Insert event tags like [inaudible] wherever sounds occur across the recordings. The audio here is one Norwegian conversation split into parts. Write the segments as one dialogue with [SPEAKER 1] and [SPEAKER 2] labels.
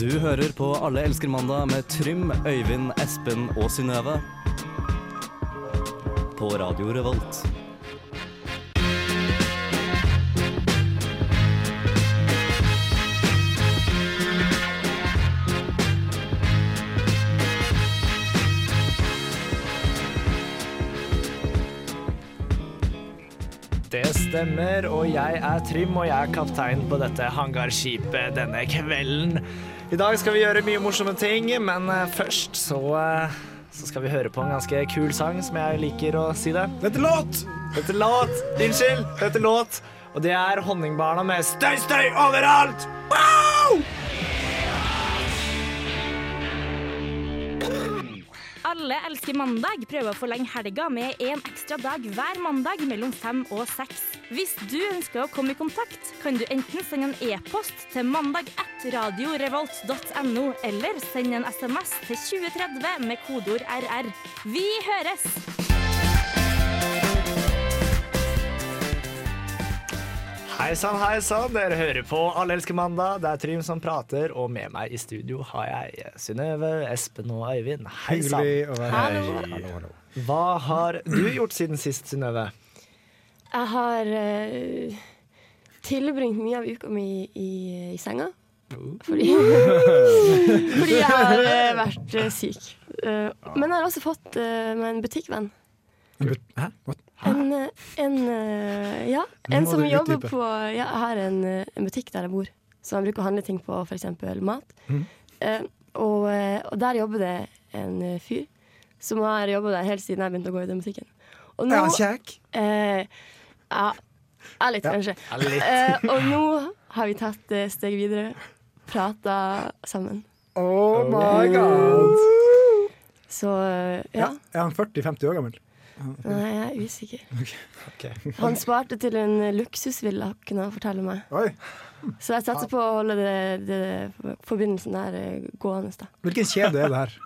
[SPEAKER 1] Du hører på Alle elsker mandag med Trym, Øyvind, Espen og Synnøve. På Radio Revolt.
[SPEAKER 2] Det stemmer, og jeg er Trym, og jeg er kaptein på dette hangarskipet denne kvelden. I dag skal vi gjøre mye morsomme ting, men eh, først så, eh, så skal vi høre på en ganske kul sang, som jeg liker å si det. Dette låt! Dette låt! Unnskyld, dette låt. Og det er Honningbarna med Støy, støy overalt! Wow!
[SPEAKER 3] Alle elsker mandag prøver å forlenge helga med en ekstra dag hver mandag mellom fem og seks. Hvis du ønsker å komme i kontakt, kan du enten sende en e-post til mandag1radiorevolt.no, eller sende en SMS til 2030 med kodeord RR. Vi høres!
[SPEAKER 2] Hei sann, hei sann, dere hører på Alle elsker mandag. Det er Trym som prater, og med meg i studio har jeg eh, Synnøve, Espen og Øyvind. Hei sann.
[SPEAKER 4] Hyggelig å være her.
[SPEAKER 3] Hallo.
[SPEAKER 4] Hallo, hallo.
[SPEAKER 2] Hva har du gjort siden sist, Synnøve?
[SPEAKER 5] Jeg har eh, tilbringt mye av uka mi i, i senga. Fordi, [laughs] fordi jeg har eh, vært eh, syk. Eh, men jeg har også fått eh, meg en butikkvenn.
[SPEAKER 4] Hæ? What?
[SPEAKER 5] En, eh, en eh, ja,
[SPEAKER 4] Nå
[SPEAKER 5] en
[SPEAKER 4] må
[SPEAKER 5] som
[SPEAKER 4] du
[SPEAKER 5] jobber
[SPEAKER 4] utdype.
[SPEAKER 5] på ja, Jeg har en, eh, en butikk der jeg bor, som jeg bruker å handle ting på, f.eks. mat.
[SPEAKER 4] Mm.
[SPEAKER 5] Eh, og, eh, og der jobber det en eh, fyr som har jobba der helt siden jeg begynte å gå i den butikken. Og
[SPEAKER 4] Er han kjekk?
[SPEAKER 5] Eh, ja, jeg litt, kanskje. Eh, og nå har vi tatt eh, steg videre. Prata sammen.
[SPEAKER 4] Oh my god!
[SPEAKER 5] Så eh,
[SPEAKER 4] Ja.
[SPEAKER 5] ja.
[SPEAKER 4] Er han 40-50 år gammel?
[SPEAKER 5] Nei, jeg er usikker.
[SPEAKER 2] Ok.
[SPEAKER 5] Han sparte til en luksusvilla, kunne han fortelle meg.
[SPEAKER 4] Oi.
[SPEAKER 5] Så jeg satser på å holde det, det, forbindelsen der eh, gående. Da.
[SPEAKER 4] Hvilken kjede er det her?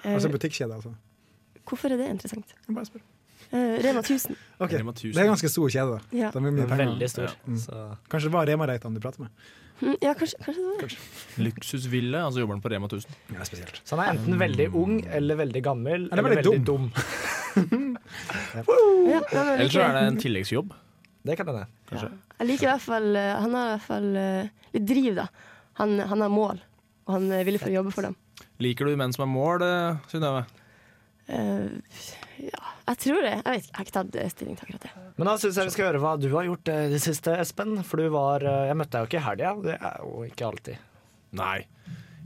[SPEAKER 5] Eh,
[SPEAKER 4] Altså butikkjede, altså.
[SPEAKER 5] hvorfor er det interessant?
[SPEAKER 4] Jeg bare spør.
[SPEAKER 5] Eh, Rema 1000.
[SPEAKER 4] Ok,
[SPEAKER 6] Rema 1000.
[SPEAKER 4] Det er ganske stor kjede. da.
[SPEAKER 5] Ja.
[SPEAKER 4] Den vil mye penger. mm.
[SPEAKER 2] Veldig stor. Så.
[SPEAKER 4] Kanskje det var Rema-Reitan du pratet med?
[SPEAKER 5] Mm, ja, kanskje, kanskje det var det.
[SPEAKER 6] Luksusville, altså jobber han på Rema 1000.
[SPEAKER 4] Ja, spesielt.
[SPEAKER 2] så han er enten veldig ung eller veldig gammel
[SPEAKER 4] Eller
[SPEAKER 2] eller
[SPEAKER 4] veldig
[SPEAKER 2] veldig dum.
[SPEAKER 5] Ja, det var
[SPEAKER 6] Eller så er det
[SPEAKER 5] likevel-
[SPEAKER 6] en tilleggsjobb.
[SPEAKER 2] Det kan hende.
[SPEAKER 5] Jeg liker i hvert fall eh, Han har i hvert fall eh, litt driv, da. Han, han har mål, og han er villig for å jobbe for dem.
[SPEAKER 6] Liker du menn som er mål, eh, Synnøve?
[SPEAKER 5] Eh, ja, jeg tror det. Jeg vet ikke, jeg har ikke tatt eh, stilling til akkurat det.
[SPEAKER 2] Men da syns jeg vi skal høre hva du har gjort eh, i det siste, Espen. For du var eh, Jeg møtte deg jo ikke i helga. Det er jo ikke alltid.
[SPEAKER 6] Nei.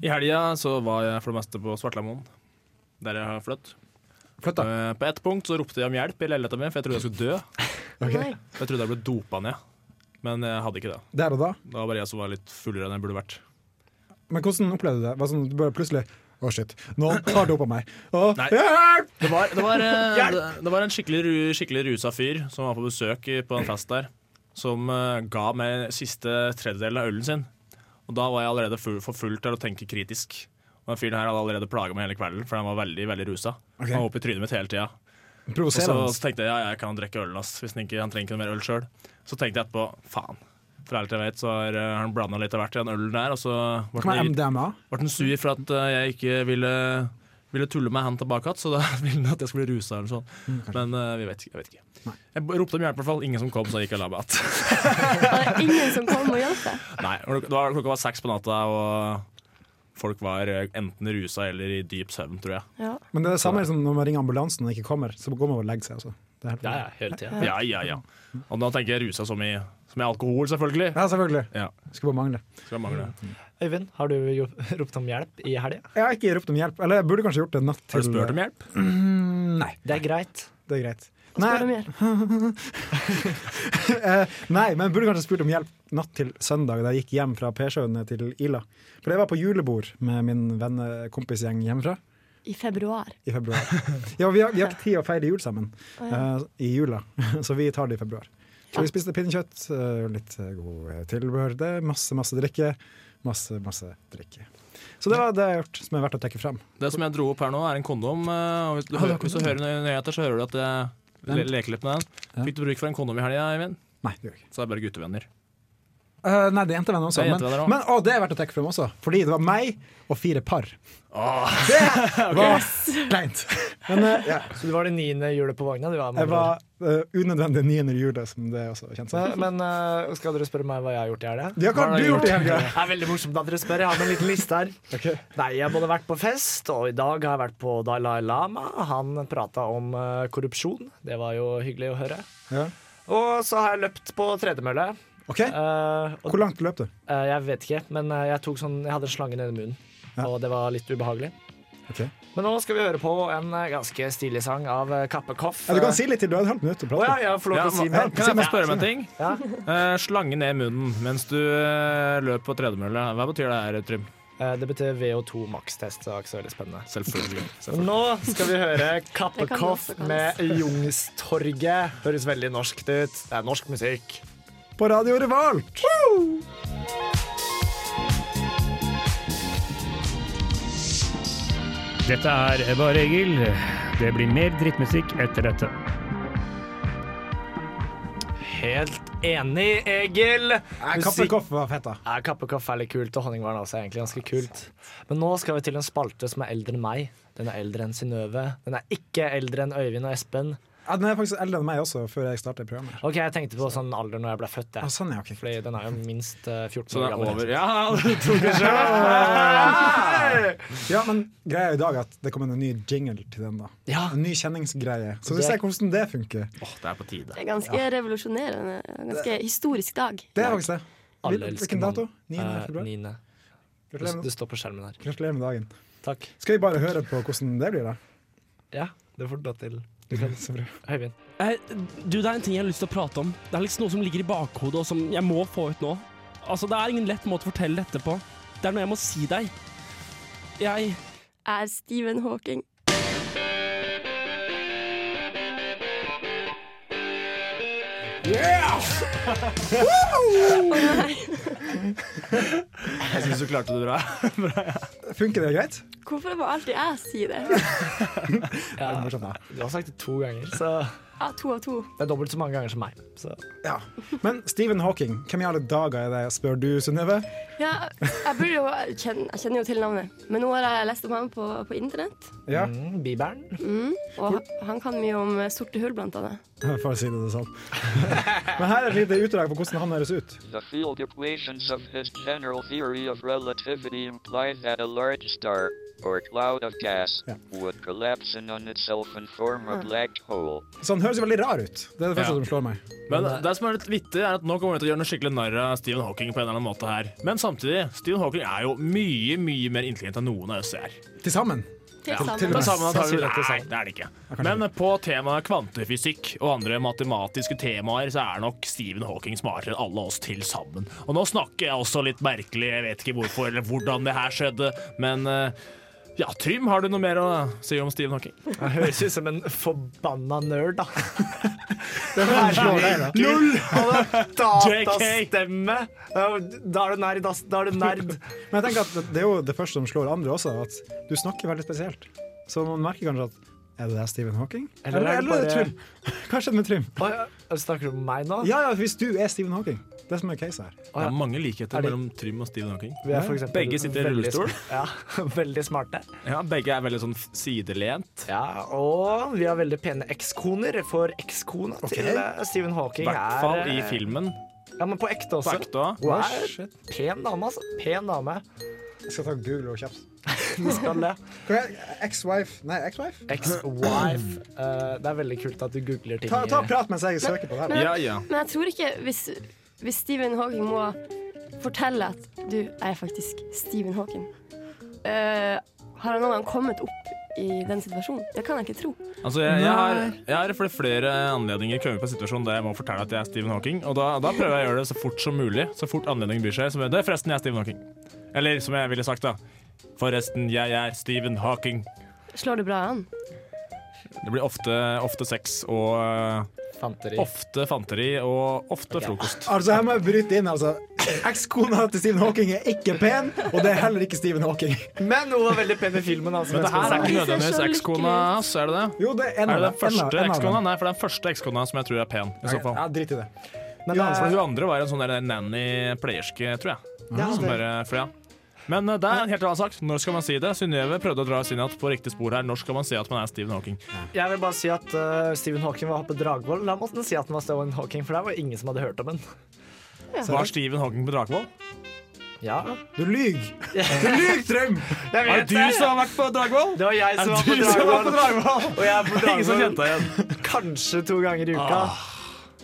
[SPEAKER 6] I helga så var jeg for det meste på Svartlamoen, der jeg har flytt.
[SPEAKER 4] Flott, da.
[SPEAKER 6] Eh, På ett punkt så ropte jeg om hjelp i leiligheta mi, for jeg trodde jeg skulle dø.
[SPEAKER 5] Nei.
[SPEAKER 6] Jeg trodde jeg ble dopa ned, men jeg hadde ikke det.
[SPEAKER 4] Der og da.
[SPEAKER 6] Det var bare jeg som var litt fullere enn jeg burde vært.
[SPEAKER 4] Men hvordan opplevde du det? Var sånn, du bare plutselig Å, shit. Nå har du opp av meg. Å,
[SPEAKER 6] Nei.
[SPEAKER 4] hjelp!
[SPEAKER 6] Det var, det var, [laughs] eh, det- det var en skikkelig, ru- skikkelig rusa fyr som var på besøk i- på en fest der, som eh, ga meg siste tredjedelen av ølen sin. Og da var jeg allerede full, for full til å tenke kritisk. Og den fyren her hadde allerede plaga meg hele kvelden, for han var veldig veldig rusa.
[SPEAKER 4] Ok.
[SPEAKER 6] Han var oppe i trynet mitt hele tida. Og så,
[SPEAKER 4] Provoserende.
[SPEAKER 6] så tenkte jeg ja, jeg kan drikke ølen hans, hvis han, ikke, han trenger ikke noe mer øl sjøl. Så tenkte jeg etterpå faen. For ærlig til jeg vet, så har eh, han blanda litt av hvert i den ølen der, og så ble
[SPEAKER 4] Kan
[SPEAKER 6] han
[SPEAKER 4] være
[SPEAKER 6] irri-
[SPEAKER 4] MDMA?
[SPEAKER 6] ble han sur for at eh, jeg ikke ville, ville tulle med han tilbake igjen, så da [laughs] ville han at jeg skulle bli rusa eller sånn. Men eh, vi vet, ikke- jeg vet ikke. Jeg b- ropte om hjelp, i hvert fall. Ingen som kom, så jeg gikk og la meg igjen. [laughs]
[SPEAKER 5] Og det er ingen som kom og hjalp deg.
[SPEAKER 6] Nei, og det var- Klokka var seks på natta, og folk var eh, enten rusa eller i dyp søvn, tror jeg.
[SPEAKER 5] Ja.
[SPEAKER 4] Men det er det samme som når man ringer ambulansen og den ikke kommer, så går man og legger seg. Altså. Det er helt
[SPEAKER 2] Ja, ja, hele tida.
[SPEAKER 6] Ja, ja, ja. Og da tenker jeg rusa som i, som i alkohol, selvfølgelig.
[SPEAKER 4] ja, selvfølgelig.
[SPEAKER 6] Ja,
[SPEAKER 4] Skulle bare mangle.
[SPEAKER 6] skal jeg mangle.
[SPEAKER 2] Øyvind, har du jo [laughs] ropt om hjelp i helga?
[SPEAKER 4] Jeg har ikke ropt om hjelp. Eller jeg burde kanskje gjort det natt til
[SPEAKER 6] Har du spurt om hjelp?
[SPEAKER 4] Mm, nei,
[SPEAKER 2] Det er greit.
[SPEAKER 4] det er greit.
[SPEAKER 5] Og spør om hjelp.
[SPEAKER 4] [laughs] Eh, nei, men burde kanskje spurt om hjelp natt til søndag, da jeg gikk hjem fra Persjøen til Ila. For jeg var på julebord med min vennekompisgjeng hjemmefra
[SPEAKER 5] I februar.
[SPEAKER 4] i [laughs] februar. Ja, vi har, vi har ikke tid å feire jul sammen
[SPEAKER 5] Å, ja.
[SPEAKER 4] eh, i jula, [laughs] så vi tar det i februar. Så vi spiste pinnekjøtt, eh, litt eh, god eh, tilbehør, det er masse, masse drikke. Masse, masse drikke. Så det var det jeg har gjort som er verdt å trekke frem.
[SPEAKER 6] Det som jeg dro opp her nå, er en kondom. eh, Og hvis du,
[SPEAKER 4] Ah, det er
[SPEAKER 6] hø- hvis du hører noe nyheter, så hører du at jeg le leker litt med den.
[SPEAKER 4] Ja.
[SPEAKER 6] Fikk du bruk for en kondom i helga, Eivind?
[SPEAKER 4] Nei, det gjør jeg ikke.
[SPEAKER 6] Så er det bare guttevenner.
[SPEAKER 4] Eh, nei, det er jentevenner også.
[SPEAKER 6] Det er
[SPEAKER 4] men,
[SPEAKER 6] jentevenner også.
[SPEAKER 4] men å, det er verdt å trekke frem også, fordi det var meg og fire par.
[SPEAKER 6] Åh,
[SPEAKER 4] Det var kleint. Men eh, ja,
[SPEAKER 2] Så du var det niende hjulet på vogna? Du var, med
[SPEAKER 4] jeg
[SPEAKER 2] andre ord.
[SPEAKER 4] var eh, unødvendig niende jule, som det også er kjent som.
[SPEAKER 2] Men, men eh, skal dere spørre meg hva jeg har gjort i helga?
[SPEAKER 4] Ja, hva har du gjort i helga?
[SPEAKER 2] Det er veldig morsomt at dere spør. Jeg har med en liten liste her.
[SPEAKER 4] Ok.
[SPEAKER 2] Nei, jeg har både vært på fest, og i dag har jeg vært på Dalai Lama. Han prata om eh, korrupsjon. Det var jo hyggelig å høre.
[SPEAKER 4] Ja.
[SPEAKER 2] Og så har jeg løpt på tredemølle.
[SPEAKER 4] OK,
[SPEAKER 2] Eh, og,
[SPEAKER 4] hvor langt løp du?
[SPEAKER 2] eh, jeg vet ikke, men eh, jeg, tok sånn, jeg hadde en slange nedi munnen,
[SPEAKER 4] Ja.
[SPEAKER 2] og det var litt ubehagelig.
[SPEAKER 4] Ok.
[SPEAKER 2] Men nå skal vi høre på en eh, ganske stilig sang av eh, Kappe Koff.
[SPEAKER 4] Ja, du kan si litt til, du har et halvt minutt å
[SPEAKER 2] Å ja,
[SPEAKER 4] prate.
[SPEAKER 2] jeg får lov
[SPEAKER 6] ja,
[SPEAKER 2] til å si
[SPEAKER 6] men-
[SPEAKER 2] mer.
[SPEAKER 6] kan jeg få spørre om en ting?
[SPEAKER 2] Ja.
[SPEAKER 6] Eh, slange ned munnen mens du eh, løper på tredemølle. Hva betyr det her, Trym?
[SPEAKER 2] Eh, Det betyr VO2 makstest, så det er ikke så veldig spennende.
[SPEAKER 6] Selvfølgelig.
[SPEAKER 2] Men
[SPEAKER 6] Selvfølgelig.
[SPEAKER 2] Nå skal vi høre
[SPEAKER 5] Det kan det
[SPEAKER 2] Kappekoff
[SPEAKER 5] også
[SPEAKER 2] med
[SPEAKER 5] kalles.
[SPEAKER 2] Youngstorget. Høres veldig norskt ut. Det er norsk musikk.
[SPEAKER 4] På Radio Revolt!
[SPEAKER 7] Dette er Ebba og Egil. Det blir mer drittmusikk etter dette.
[SPEAKER 2] Helt enig, Egil.
[SPEAKER 4] Kapper Koff var fett, da.
[SPEAKER 2] Ja, Kappekoff er litt kult, og honningvaren også er egentlig ganske kult. Men nå skal vi til en spalte som er eldre enn meg. Den er eldre enn Synnøve. Den er ikke eldre enn Øyvind og Espen.
[SPEAKER 4] Ja, den er faktisk eldre enn meg også, før jeg startet programmet.
[SPEAKER 2] Ok, Jeg tenkte på sånn alder når jeg ble født.
[SPEAKER 4] Ah,
[SPEAKER 2] Jeg.
[SPEAKER 4] sånn, ja, ok.
[SPEAKER 2] Fordi den er jo minst eh, 14
[SPEAKER 6] Så det
[SPEAKER 2] år
[SPEAKER 6] er
[SPEAKER 2] gammel.
[SPEAKER 6] over. Ja, [laughs] du tok det selv.
[SPEAKER 4] Ja, men greia er i dag at det kommer en ny jingle til den. da
[SPEAKER 2] Ja.
[SPEAKER 4] En ny kjenningsgreie. Så vi
[SPEAKER 2] Det-
[SPEAKER 4] ser hvordan det funker.
[SPEAKER 6] Åh, det er på tide.
[SPEAKER 5] Det er ganske revolusjonerende. en Ganske historisk dag.
[SPEAKER 4] Det er faktisk det.
[SPEAKER 2] Alle
[SPEAKER 4] Hvil-
[SPEAKER 2] elsker
[SPEAKER 4] Hvilken dato?
[SPEAKER 2] mandag.
[SPEAKER 4] 9.
[SPEAKER 2] Eh,
[SPEAKER 4] februar?
[SPEAKER 2] niende.
[SPEAKER 4] Gratulerer
[SPEAKER 2] Det
[SPEAKER 4] med-
[SPEAKER 2] står på skjermen her.
[SPEAKER 4] Gratulerer med dagen.
[SPEAKER 2] Takk.
[SPEAKER 4] Skal vi bare høre på hvordan det blir, da?
[SPEAKER 2] Mm.
[SPEAKER 4] sånn,
[SPEAKER 2] Ja, det får du da til.
[SPEAKER 4] Så bra.
[SPEAKER 2] Øyvind.
[SPEAKER 8] Eh, du, det er en ting jeg har lyst til å prate om. Det er liksom noe som ligger i bakhodet, og som jeg må få ut nå. Altså, det er ingen lett måte å fortelle dette på. Det er noe jeg må si deg. Jeg
[SPEAKER 5] Er Stephen Hawking
[SPEAKER 6] Jeg syns du klarte det bra.
[SPEAKER 4] Funker det greit?
[SPEAKER 5] Hvorfor må alltid jeg si det?
[SPEAKER 4] Er det morsomt, da?
[SPEAKER 2] Du har sagt det to ganger, så
[SPEAKER 5] Ja, to av to.
[SPEAKER 2] det er dobbelt så mange ganger som meg. Så.
[SPEAKER 4] Ja. Men Stephen Hawking, hvem i alle dager er det, spør du, Synnøve?
[SPEAKER 5] Ja, jeg, burde jo, jeg, kjenner, jeg kjenner jo til navnet, men nå har jeg lest om ham på, på internett.
[SPEAKER 4] Ja,
[SPEAKER 2] Mm, Bibelen.
[SPEAKER 5] Og han, han kan mye om eh, sorte hull, blant annet.
[SPEAKER 2] Mm.
[SPEAKER 4] [laughs] for å si det sånn. Men her er et lite utdrag på hvordan han høres ut.
[SPEAKER 9] The field equations of his general theory of relativity imply that a large star, or cloud of gas,
[SPEAKER 4] Yeah.
[SPEAKER 9] would collapse in on itself and form a black hole.
[SPEAKER 4] Så han høres jo veldig rar ut. Det er det første
[SPEAKER 6] Ja.
[SPEAKER 4] som slår meg.
[SPEAKER 6] Men det som er litt vittig, er at nå kommer vi til å gjøre noe skikkelig narr av Stephen Hawking på en eller annen måte her. Men samtidig, Stephen Hawking er jo mye, mye mer intelligent enn noen av oss er.
[SPEAKER 4] Til sammen.
[SPEAKER 5] Til
[SPEAKER 4] til og
[SPEAKER 5] sammen.
[SPEAKER 4] med.
[SPEAKER 6] Men sammen antagelig,
[SPEAKER 4] Sannsynlig
[SPEAKER 6] nei, det er det ikke. Men på temaet kvantefysikk og andre matematiske temaer, så er nok Stephen Hawking smartere enn alle oss til sammen. Og nå snakker jeg også litt merkelig, jeg vet ikke hvorfor eller hvordan det her skjedde, men eh, ja, Trym, har du noe mer å si om Stephen Hawking?
[SPEAKER 2] Jeg høres ut som en forbanna nerd, [laughs] da. [laughs]
[SPEAKER 6] Null!
[SPEAKER 2] Datastemme! Da er du nerd, ass. Da er du nerd.
[SPEAKER 4] Men jeg tenker at det er jo det første som slår andre også, at du snakker veldig spesielt. Så man merker kanskje at er det der Stephen Hawking?
[SPEAKER 2] Eller
[SPEAKER 4] Eller,
[SPEAKER 2] er det
[SPEAKER 4] eller, er det
[SPEAKER 2] bare-
[SPEAKER 4] Trym? [laughs] Hva skjedde med Trym?
[SPEAKER 2] Oi, snakker du om meg nå?
[SPEAKER 4] Ja, ja, hvis du er Stephen Hawking. Det som er case her.
[SPEAKER 6] Det er mange
[SPEAKER 2] Er
[SPEAKER 6] likheter
[SPEAKER 2] det-
[SPEAKER 6] mellom Trym og Stephen Hawking.
[SPEAKER 2] Vi er for eksempel
[SPEAKER 6] Begge sitter i
[SPEAKER 2] veldig
[SPEAKER 6] rullestol.
[SPEAKER 2] sm- Ja, [laughs] veldig smarte.
[SPEAKER 6] Ja, begge er veldig sånn sidelent.
[SPEAKER 2] Ja, Og vi har veldig pene ekskoner, for ekskona til eh, Stephen
[SPEAKER 6] I
[SPEAKER 2] Hawking
[SPEAKER 6] hvert
[SPEAKER 2] er
[SPEAKER 6] fall i
[SPEAKER 2] eh,
[SPEAKER 6] filmen.
[SPEAKER 2] Ja, men på ekte
[SPEAKER 6] På
[SPEAKER 2] også.
[SPEAKER 6] ekte også.
[SPEAKER 2] Hun
[SPEAKER 4] Oi,
[SPEAKER 2] er
[SPEAKER 4] shit.
[SPEAKER 2] pen dame, altså. Pen dame.
[SPEAKER 4] Jeg skal ta Google og kjapt.
[SPEAKER 2] Du skal det.
[SPEAKER 4] Hva er Ex-wife Nei, ex-wife?
[SPEAKER 2] Ex-wife. Eh, det er veldig kult at du googler ting.
[SPEAKER 4] Ta, ta og prat mens jeg søker på det her.
[SPEAKER 6] Ja, ja.
[SPEAKER 5] Men jeg tror ikke, hvis, hvis Stephen Hawking må fortelle at du jeg er faktisk Stephen Hawking eh, Har han noen gang kommet opp i den situasjonen? Det kan jeg ikke tro.
[SPEAKER 6] Altså, jeg, jeg, har, jeg har for flere anledninger kommet på en situasjon der jeg må fortelle at jeg er Stephen Hawking, og da, da prøver jeg å gjøre det så fort som mulig. Så fort anledningen byr seg. Som jeg, det er forresten jeg er Stephen Hawking. Eller som jeg ville sagt, da. Forresten, jeg er Stephen Hawking.
[SPEAKER 5] Slår det bra an?
[SPEAKER 6] Det blir ofte, ofte sex og øh,
[SPEAKER 2] Fanteri.
[SPEAKER 6] ofte fanteri og ofte frokost.
[SPEAKER 4] Altså, Her må jeg bryte inn. altså Ekskona til Stephen Hawking er ikke pen, og det er heller ikke Stephen Hawking.
[SPEAKER 2] Men hun var veldig pen i filmen. Altså,
[SPEAKER 6] Men det her er
[SPEAKER 5] Vi
[SPEAKER 6] ikke
[SPEAKER 5] ser så
[SPEAKER 6] nødvendigvis ekskona
[SPEAKER 5] lykkelig ut.
[SPEAKER 6] hans, er det det?
[SPEAKER 4] Jo, det er en
[SPEAKER 6] Er
[SPEAKER 4] av dem. En
[SPEAKER 6] det den
[SPEAKER 4] av-
[SPEAKER 6] første
[SPEAKER 4] en av dem.
[SPEAKER 6] ekskona? Nei, for det er den første ekskona som jeg tror er pen. I så fall.
[SPEAKER 4] Ja, drit i det.
[SPEAKER 2] Men
[SPEAKER 4] Ja, altså,
[SPEAKER 2] eh,
[SPEAKER 6] For hun andre var en sånn der nanny playerske, tror jeg.
[SPEAKER 2] ja,
[SPEAKER 6] Som Sånn bare, for ja. Men eh, det er helt annet sagt. Når skal man si det? Synnøve prøvde å dra Sinjat på riktig spor her. Når skal man si at man er Stephen Hawking?
[SPEAKER 2] Jeg vil bare si at eh, Stephen Hawking var på Dragvoll. Da måtte han si at han var Stephen Hawking, for der var ingen som hadde hørt om han.
[SPEAKER 6] Var Stephen Hawking på Dragvoll?
[SPEAKER 2] Ja.
[SPEAKER 4] Du lyver! Du lyver, Trym!
[SPEAKER 2] Jeg
[SPEAKER 6] Er
[SPEAKER 2] vet
[SPEAKER 6] det du som har vært på Dragvoll?
[SPEAKER 2] Det var jeg som var på
[SPEAKER 6] du som var på
[SPEAKER 2] Dragvoll.
[SPEAKER 6] Dragvoll?
[SPEAKER 2] Og jeg er på
[SPEAKER 6] Ingen som
[SPEAKER 2] Dragvoll
[SPEAKER 6] kjente deg igjen.
[SPEAKER 2] kanskje to ganger i uka.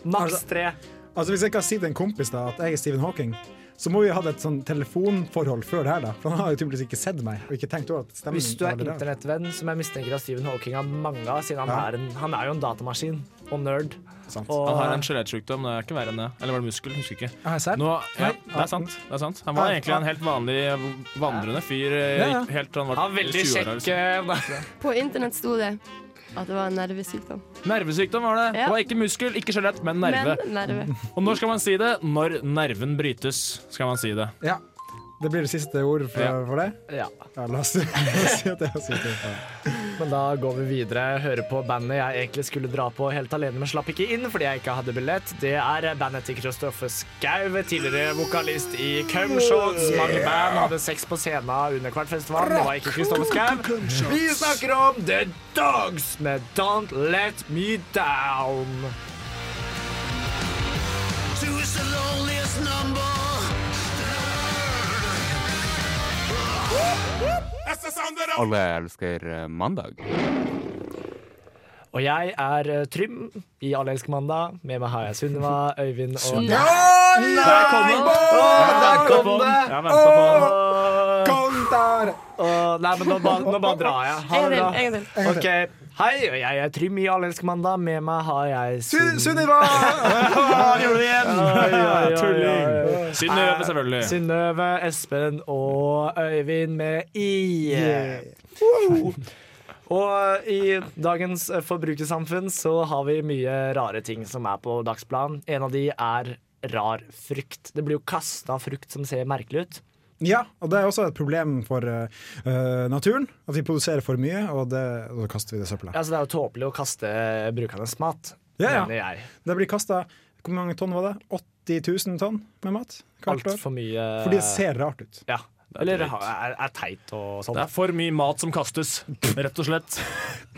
[SPEAKER 2] Maks tre.
[SPEAKER 4] Altså, hvis jeg ikke har sagt til en kompis da, at jeg er Stephen Hawking, så må vi ha hatt et sånn telefonforhold før det her, da. For han har jo tydeligvis ikke sett meg. Og ikke tenkt over at stemmen
[SPEAKER 2] Hvis du Mm, er
[SPEAKER 4] var det der.
[SPEAKER 2] internettvenn, som jeg mistenker at Stephen Hawking har mange av, siden han,
[SPEAKER 4] Ja.
[SPEAKER 2] er, en, han er jo en datamaskin og nerd.
[SPEAKER 4] Sant.
[SPEAKER 2] Og,
[SPEAKER 6] Han har en skjelettsykdom, det er ikke verre enn det. Eller var det muskel? Husker ikke.
[SPEAKER 4] Har jeg sett?
[SPEAKER 6] Nå, ja,
[SPEAKER 4] Nei.
[SPEAKER 6] det er sant. det er sant Han var
[SPEAKER 4] Ja,
[SPEAKER 6] egentlig en helt vanlig vandrende fyr. eh,
[SPEAKER 4] Ja, ja.
[SPEAKER 6] ikke Helt, til han var
[SPEAKER 2] han er veldig
[SPEAKER 6] 20 år,
[SPEAKER 2] kjekk.
[SPEAKER 6] liksom.
[SPEAKER 2] eh,
[SPEAKER 5] På internett sto det at det var en nervesykdom.
[SPEAKER 6] Nervesykdom var det.
[SPEAKER 5] Ja.
[SPEAKER 6] Det var ikke muskel, ikke skjelett, men nerve.
[SPEAKER 5] Men nerve.
[SPEAKER 6] Og når skal man si det? Når nerven brytes, skal man si det.
[SPEAKER 4] Ja. Det blir det siste ordet for,
[SPEAKER 6] Ja.
[SPEAKER 4] for det.
[SPEAKER 2] Ja.
[SPEAKER 4] Ja, la oss, [laughs] la oss si at jeg har sagt det. Ja.
[SPEAKER 2] Men da går vi videre. Hører på bandet jeg egentlig skulle dra på helt alene, men slapp ikke inn fordi jeg ikke hadde billett. Det er bandet til Kristoffer Schou, tidligere vokalist i Cumshot. Mange band hadde sex på scenen under kvartfestivalen. Det var ikke Kristoffer Schou. Vi snakker om The Dogs med Don't Let Me Down.
[SPEAKER 10] Alle elsker eh, mandag.
[SPEAKER 2] Og jeg er eh, Trym i Alle elsker mandag. Med meg har jeg Sunniva, Øyvind og
[SPEAKER 6] Der kom den!
[SPEAKER 2] Der kom det!
[SPEAKER 6] Jeg ventet på den.
[SPEAKER 4] Kom der!
[SPEAKER 2] Åh, nei, men nå bare, nå bare drar jeg. Ha
[SPEAKER 5] En
[SPEAKER 2] det
[SPEAKER 5] til,
[SPEAKER 2] bra.
[SPEAKER 5] en til.
[SPEAKER 2] Ok, Hei, og jeg er Trym i Alle elsker mandag. Med meg har jeg
[SPEAKER 4] Su-
[SPEAKER 2] Sunn-
[SPEAKER 4] Sunniva!
[SPEAKER 6] Han gjorde det
[SPEAKER 2] Oi, oi, oi,
[SPEAKER 6] igjen!
[SPEAKER 2] oi.
[SPEAKER 6] Tulling. Synnøve,
[SPEAKER 2] Eh,
[SPEAKER 6] selvfølgelig.
[SPEAKER 2] Synnøve, Espen og Øyvind med I.
[SPEAKER 4] Yeah.
[SPEAKER 2] Og i dagens eh, forbrukersamfunn så har vi mye rare ting som er på dagsplan. En av de er rar frukt. Det blir jo kasta frukt som ser merkelig ut.
[SPEAKER 4] Ja, og det er også et problem for eh, naturen. At vi produserer for mye, og, det, og da kaster vi det i søpla.
[SPEAKER 2] Ja, så Altså, det er jo tåpelig å kaste brukernes mat,
[SPEAKER 4] Ja, ja.
[SPEAKER 2] mener jeg.
[SPEAKER 4] Det blir kasta Hvor mange tonn var det? 80 000 tonn med mat? hvert år.
[SPEAKER 2] Altfor mye
[SPEAKER 4] Fordi det ser rart ut.
[SPEAKER 2] Ja. Eller ha- er, er teit og sånn.
[SPEAKER 6] Det er for mye mat som kastes, rett og slett.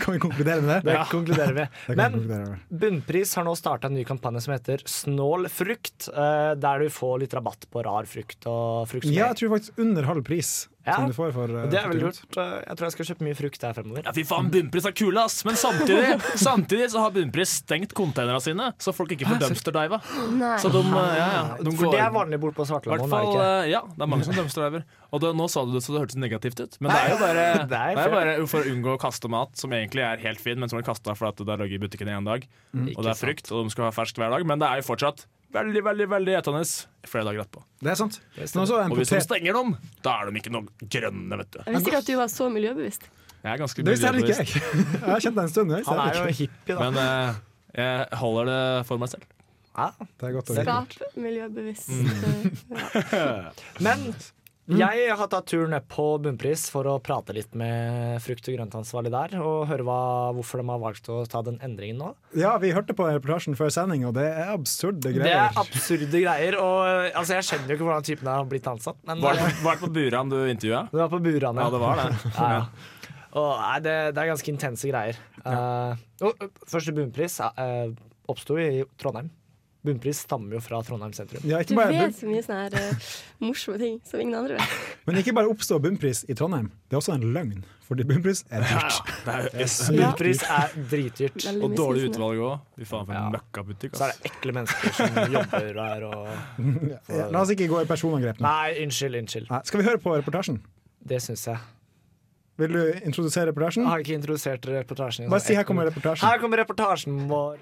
[SPEAKER 4] Kan vi konkludere med det?
[SPEAKER 2] Det konkluderer vi.
[SPEAKER 4] Det kan vi
[SPEAKER 2] Men
[SPEAKER 4] konkludere med.
[SPEAKER 2] Bunnpris har nå starta en ny kampanje som heter Snål frukt, eh, der du får litt rabatt på rar frukt og frukt som
[SPEAKER 4] Ja,
[SPEAKER 2] er-
[SPEAKER 4] jeg tror faktisk under halv pris
[SPEAKER 2] Ja.
[SPEAKER 4] som du får for eh,
[SPEAKER 2] Det er veldig
[SPEAKER 4] frukt.
[SPEAKER 2] lurt. Eh, Jeg tror jeg skal kjøpe mye frukt der fremover.
[SPEAKER 6] Ja, fy faen, bunnpris er kule, ass! Men
[SPEAKER 2] [laughs]
[SPEAKER 6] samtidig, samtidig så har bunnpris stengt containerne sine, så folk ikke får dumpsterdiva.
[SPEAKER 5] Nei.
[SPEAKER 6] Så de, eh, ja, ja, de
[SPEAKER 2] For
[SPEAKER 6] går
[SPEAKER 2] det er vanlig bort på
[SPEAKER 6] I hvert
[SPEAKER 2] Svartlamoen, er det
[SPEAKER 6] fall,
[SPEAKER 2] ikke?
[SPEAKER 6] eh, ja, det er mange som dumpsterdiver. Og det, nå sa du det så det hørtes negativt ut, men det er jo bare,
[SPEAKER 2] Nei,
[SPEAKER 6] det
[SPEAKER 2] [laughs] det er
[SPEAKER 6] er jo bare for å unngå å kaste mat, som egentlig er helt fin, men som blir kasta fordi at det har ligget i butikken i en dag.
[SPEAKER 2] Mm.
[SPEAKER 6] Og det er frukt, og de skal ha ferskt hver dag, men det er jo fortsatt veldig, veldig veldig etende flere dager etterpå.
[SPEAKER 4] Det er sant.
[SPEAKER 2] eh,
[SPEAKER 4] Men også en
[SPEAKER 6] Og hvis de
[SPEAKER 4] potet
[SPEAKER 6] stenger dem, da er de ikke noe grønne, vet du.
[SPEAKER 5] Jeg visste ikke at du var så miljøbevisst.
[SPEAKER 6] Jeg er ganske
[SPEAKER 4] Det visste heller ikke
[SPEAKER 6] miljøbevisst,
[SPEAKER 4] jeg. Jeg [laughs] har kjent deg en stund. Jeg visste
[SPEAKER 2] Han er
[SPEAKER 4] heller
[SPEAKER 2] jo
[SPEAKER 4] ikke.
[SPEAKER 2] hippie, da.
[SPEAKER 6] men eh, jeg holder det for meg selv.
[SPEAKER 4] Det er godt å vite.
[SPEAKER 5] Skap miljøbevisst. eh, Ja.
[SPEAKER 2] Men jeg har tatt turen ned på Bunnpris for å prate litt med frukt- og grøntansvarlig der, og høre hva, hvorfor de har valgt å ta den endringen nå.
[SPEAKER 4] Ja, vi hørte på reportasjen før sending, og det er absurde
[SPEAKER 2] Det
[SPEAKER 4] greier.
[SPEAKER 2] er absurde greier, og eh, altså, jeg skjønner jo ikke hvordan typen har blitt ansatt, men
[SPEAKER 6] Var
[SPEAKER 2] eh,
[SPEAKER 6] det, var det på Buran du intervjua?
[SPEAKER 2] det var på Burane.
[SPEAKER 6] Ja, det
[SPEAKER 2] [laughs]
[SPEAKER 6] var det.
[SPEAKER 2] Ja, ja. Og, nei, det, det er ganske intense greier. Eh, og, ø, første bunnpris uh, oppsto i Trondheim. Bunnpris stammer jo fra Trondheim sentrum.
[SPEAKER 4] Ja,
[SPEAKER 5] Du
[SPEAKER 4] ikke bare,
[SPEAKER 5] vet så mye sånne her eh, morsomme ting som ingen andre vet.
[SPEAKER 4] men ikke bare oppstår bunnpris i Trondheim, det er også en løgn. Fordi bunnpris er dyrt.
[SPEAKER 5] Ja.
[SPEAKER 2] Bunnpris er dritdyrt.
[SPEAKER 5] Veldig
[SPEAKER 6] Og
[SPEAKER 5] mye
[SPEAKER 6] dårlig
[SPEAKER 5] sånne-
[SPEAKER 6] utvalg òg. Fy faen, for en møkkabutikk.
[SPEAKER 2] Så er
[SPEAKER 6] ass.
[SPEAKER 2] det ekle mennesker som jobber der og
[SPEAKER 4] Ja, La oss ikke gå i personangrep nå.
[SPEAKER 2] Nei, unnskyld, unnskyld.
[SPEAKER 4] Nei, Skal vi høre på reportasjen?
[SPEAKER 2] Det syns jeg.
[SPEAKER 4] Vil du introdusere reportasjen?
[SPEAKER 2] Jeg [laughs] har ikke introdusert reportasjen. i
[SPEAKER 4] Bare
[SPEAKER 2] sånn
[SPEAKER 4] si
[SPEAKER 2] ett
[SPEAKER 4] her kommer
[SPEAKER 2] minutt.
[SPEAKER 4] reportasjen.
[SPEAKER 2] Her kommer reportasjen vår.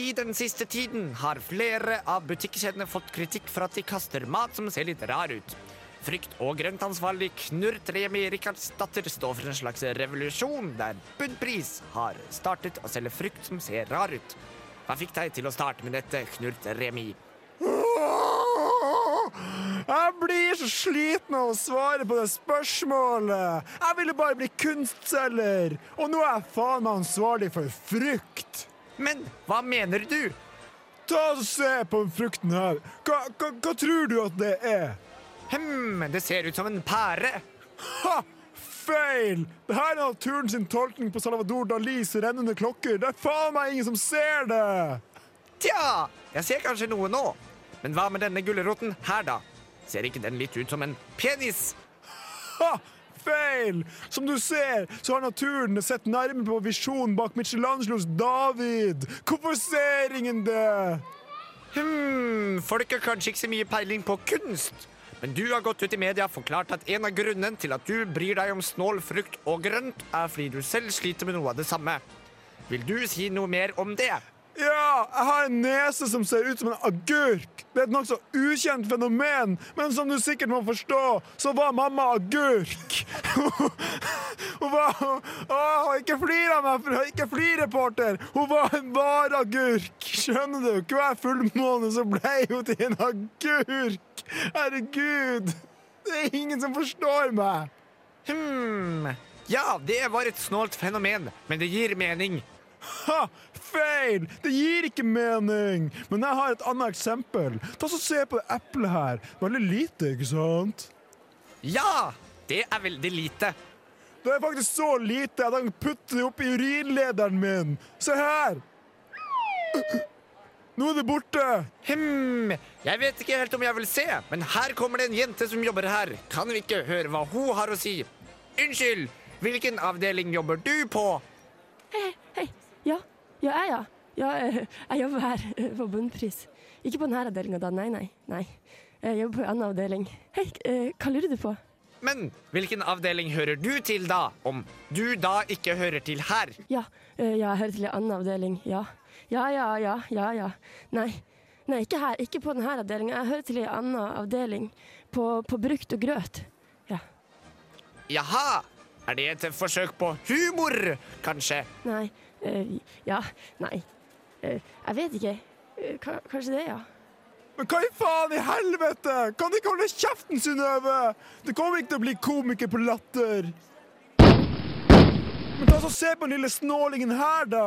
[SPEAKER 2] I den siste tiden har flere av butikkjedene fått kritikk for at de kaster mat som ser litt rar ut. Frykt- og grøntansvarlig Knurr Tremi Rikardsdatter står for en slags revolusjon der Bunnpris har startet å selge frukt som ser rar ut. Hva fikk deg til å starte med dette, Knurr Tremi?
[SPEAKER 4] Jeg blir så sliten av å svare på det spørsmålet. Jeg ville bare bli kunstselger, og nå er jeg faen meg ansvarlig for frukt.
[SPEAKER 2] Men hva mener du?
[SPEAKER 4] Ta og Se på den frukten her. Hva, hva, hva tror du at det er?
[SPEAKER 2] Hm, det ser ut som en pære.
[SPEAKER 4] Ha! Feil! Det her er naturen sin tolkning på Salvador Dalis rennende klokker. Det er faen meg ingen som ser det!
[SPEAKER 2] Tja, jeg ser kanskje noe nå. Men hva med denne gulroten her, da? Ser ikke den litt ut som en penis?
[SPEAKER 4] Ha! Feil! Som du ser, så har naturen sett nærmere på visjonen bak Michelangelos David. Hvorfor ser ingen det?
[SPEAKER 2] Hm, folk har kanskje ikke så mye peiling på kunst. Men du har gått ut i media og forklart at en av grunnen til at du bryr deg om snål frukt og grønt, er fordi du selv sliter med noe av det samme. Vil du si noe mer om det?
[SPEAKER 4] Ja, jeg har en nese som ser ut som en agurk. Det er et nokså ukjent fenomen, men som du sikkert må forstå, så var mamma agurk. [laughs] Hun var Å, ikke flir av meg, for- ikke flir, reporter! Hun var en varagurk. Skjønner du? Hver fullmåne så ble hun til en agurk. Herregud! Det er ingen som forstår meg.
[SPEAKER 2] Hm, ja, det var et snålt fenomen, men det gir mening.
[SPEAKER 4] Ha! Feil! Det gir ikke mening! Men jeg har et annet eksempel. Ta så Se på det eplet her. Veldig lite, ikke sant?
[SPEAKER 2] Ja! Det er veldig lite.
[SPEAKER 4] Det er faktisk så lite at jeg kan putte det opp i urinlederen min. Se her! Nå er det borte.
[SPEAKER 2] Hm, jeg vet ikke helt om jeg vil se, men her kommer det en jente som jobber her. Kan vi ikke høre hva hun har å si? Unnskyld, hvilken avdeling jobber du på?
[SPEAKER 5] Hei, hei. Ja, ja, jeg, ja. ja eh, jeg jobber her eh, på Bunnpris. Ikke på denne avdelinga, da. Nei, nei. nei. Jeg jobber på en annen avdeling. Hei, eh, hva lurer du på?
[SPEAKER 2] Men hvilken avdeling hører du til da, om du da ikke hører til her?
[SPEAKER 5] Ja, eh, ja, jeg hører til en annen avdeling. Ja. Ja, ja, ja, ja, ja. Nei. Nei, ikke her. Ikke på denne avdelinga. Jeg hører til en annen avdeling. På, på brukt og grøt. Ja.
[SPEAKER 2] Jaha, er det et forsøk på humor, kanskje?
[SPEAKER 5] Nei. eh, ja. Nei. Eh, jeg vet ikke. Eh, ka- kanskje det, ja.
[SPEAKER 4] Men hva i faen i helvete? Kan de ikke holde kjeften, Synnøve? Det kommer ikke til å bli komiker på latter. Men ta så Se på den lille snålingen her, da!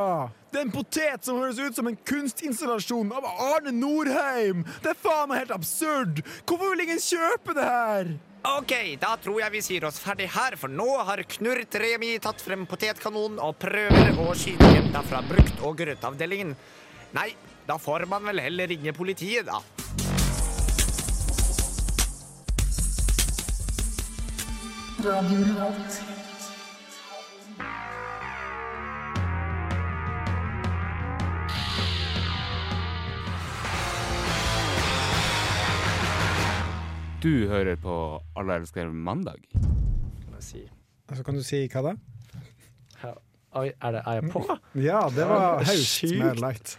[SPEAKER 4] Det er en potet som høres ut som en kunstinstallasjon av Arne Norheim! Det er faen meg helt absurd! Hvorfor vil ingen kjøpe det her?
[SPEAKER 2] Ok, da tror jeg vi sier oss ferdig her, for nå har Knurt Remi tatt frem potetkanonen og prøver å skyte jenta fra brukt- og grøtavdelingen. Nei, da får man vel heller ringe politiet, da.
[SPEAKER 11] Radio Revolt.
[SPEAKER 10] Du hører på Alle elsker mandag.
[SPEAKER 4] Så Altså, kan du si hva da?
[SPEAKER 12] Oi, er, det, er jeg på?
[SPEAKER 4] Ja, det var Haust
[SPEAKER 12] Sjukt.
[SPEAKER 4] med Light.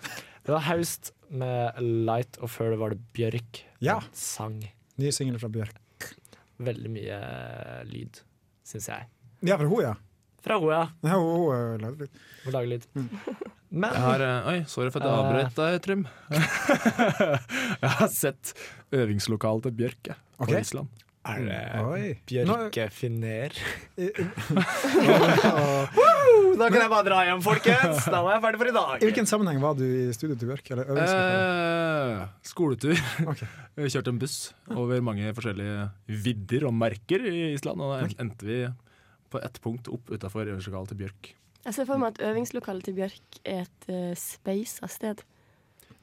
[SPEAKER 12] Det var Haust med Light, og før det var det Bjørk.
[SPEAKER 4] Ja.
[SPEAKER 12] En Sang.
[SPEAKER 4] Ny singel fra Bjørk.
[SPEAKER 12] Veldig mye
[SPEAKER 2] eh,
[SPEAKER 12] lyd, syns jeg.
[SPEAKER 4] Ja, fra hun, ja.
[SPEAKER 12] Fra henne, ja.
[SPEAKER 4] Ja, hun, hun lagde litt.
[SPEAKER 12] Må lage lyd.
[SPEAKER 2] [laughs]
[SPEAKER 12] Men
[SPEAKER 6] Jeg har, eh, oi, sorry for at jeg avbrøt deg, Trym. [laughs] jeg har sett øvingslokalet til Bjørk jeg, på
[SPEAKER 12] Ok.
[SPEAKER 6] Island.
[SPEAKER 12] Er
[SPEAKER 4] det
[SPEAKER 2] [laughs]
[SPEAKER 12] Bjørkefiner?
[SPEAKER 2] Woo! Da kan jeg bare dra hjem, folkens. Da var jeg ferdig for i dag.
[SPEAKER 4] I hvilken sammenheng var du i studio til Bjørk? Eller øvingslokale?
[SPEAKER 6] Eh, skoletur.
[SPEAKER 4] [laughs]
[SPEAKER 6] Vi kjørte en buss over mange forskjellige vidder og merker i Island, og da endte vi på ett punkt opp utafor øvingslokalet til Bjørk.
[SPEAKER 5] Jeg ser for meg at øvingslokalet til Bjørk er et uh, speisa sted.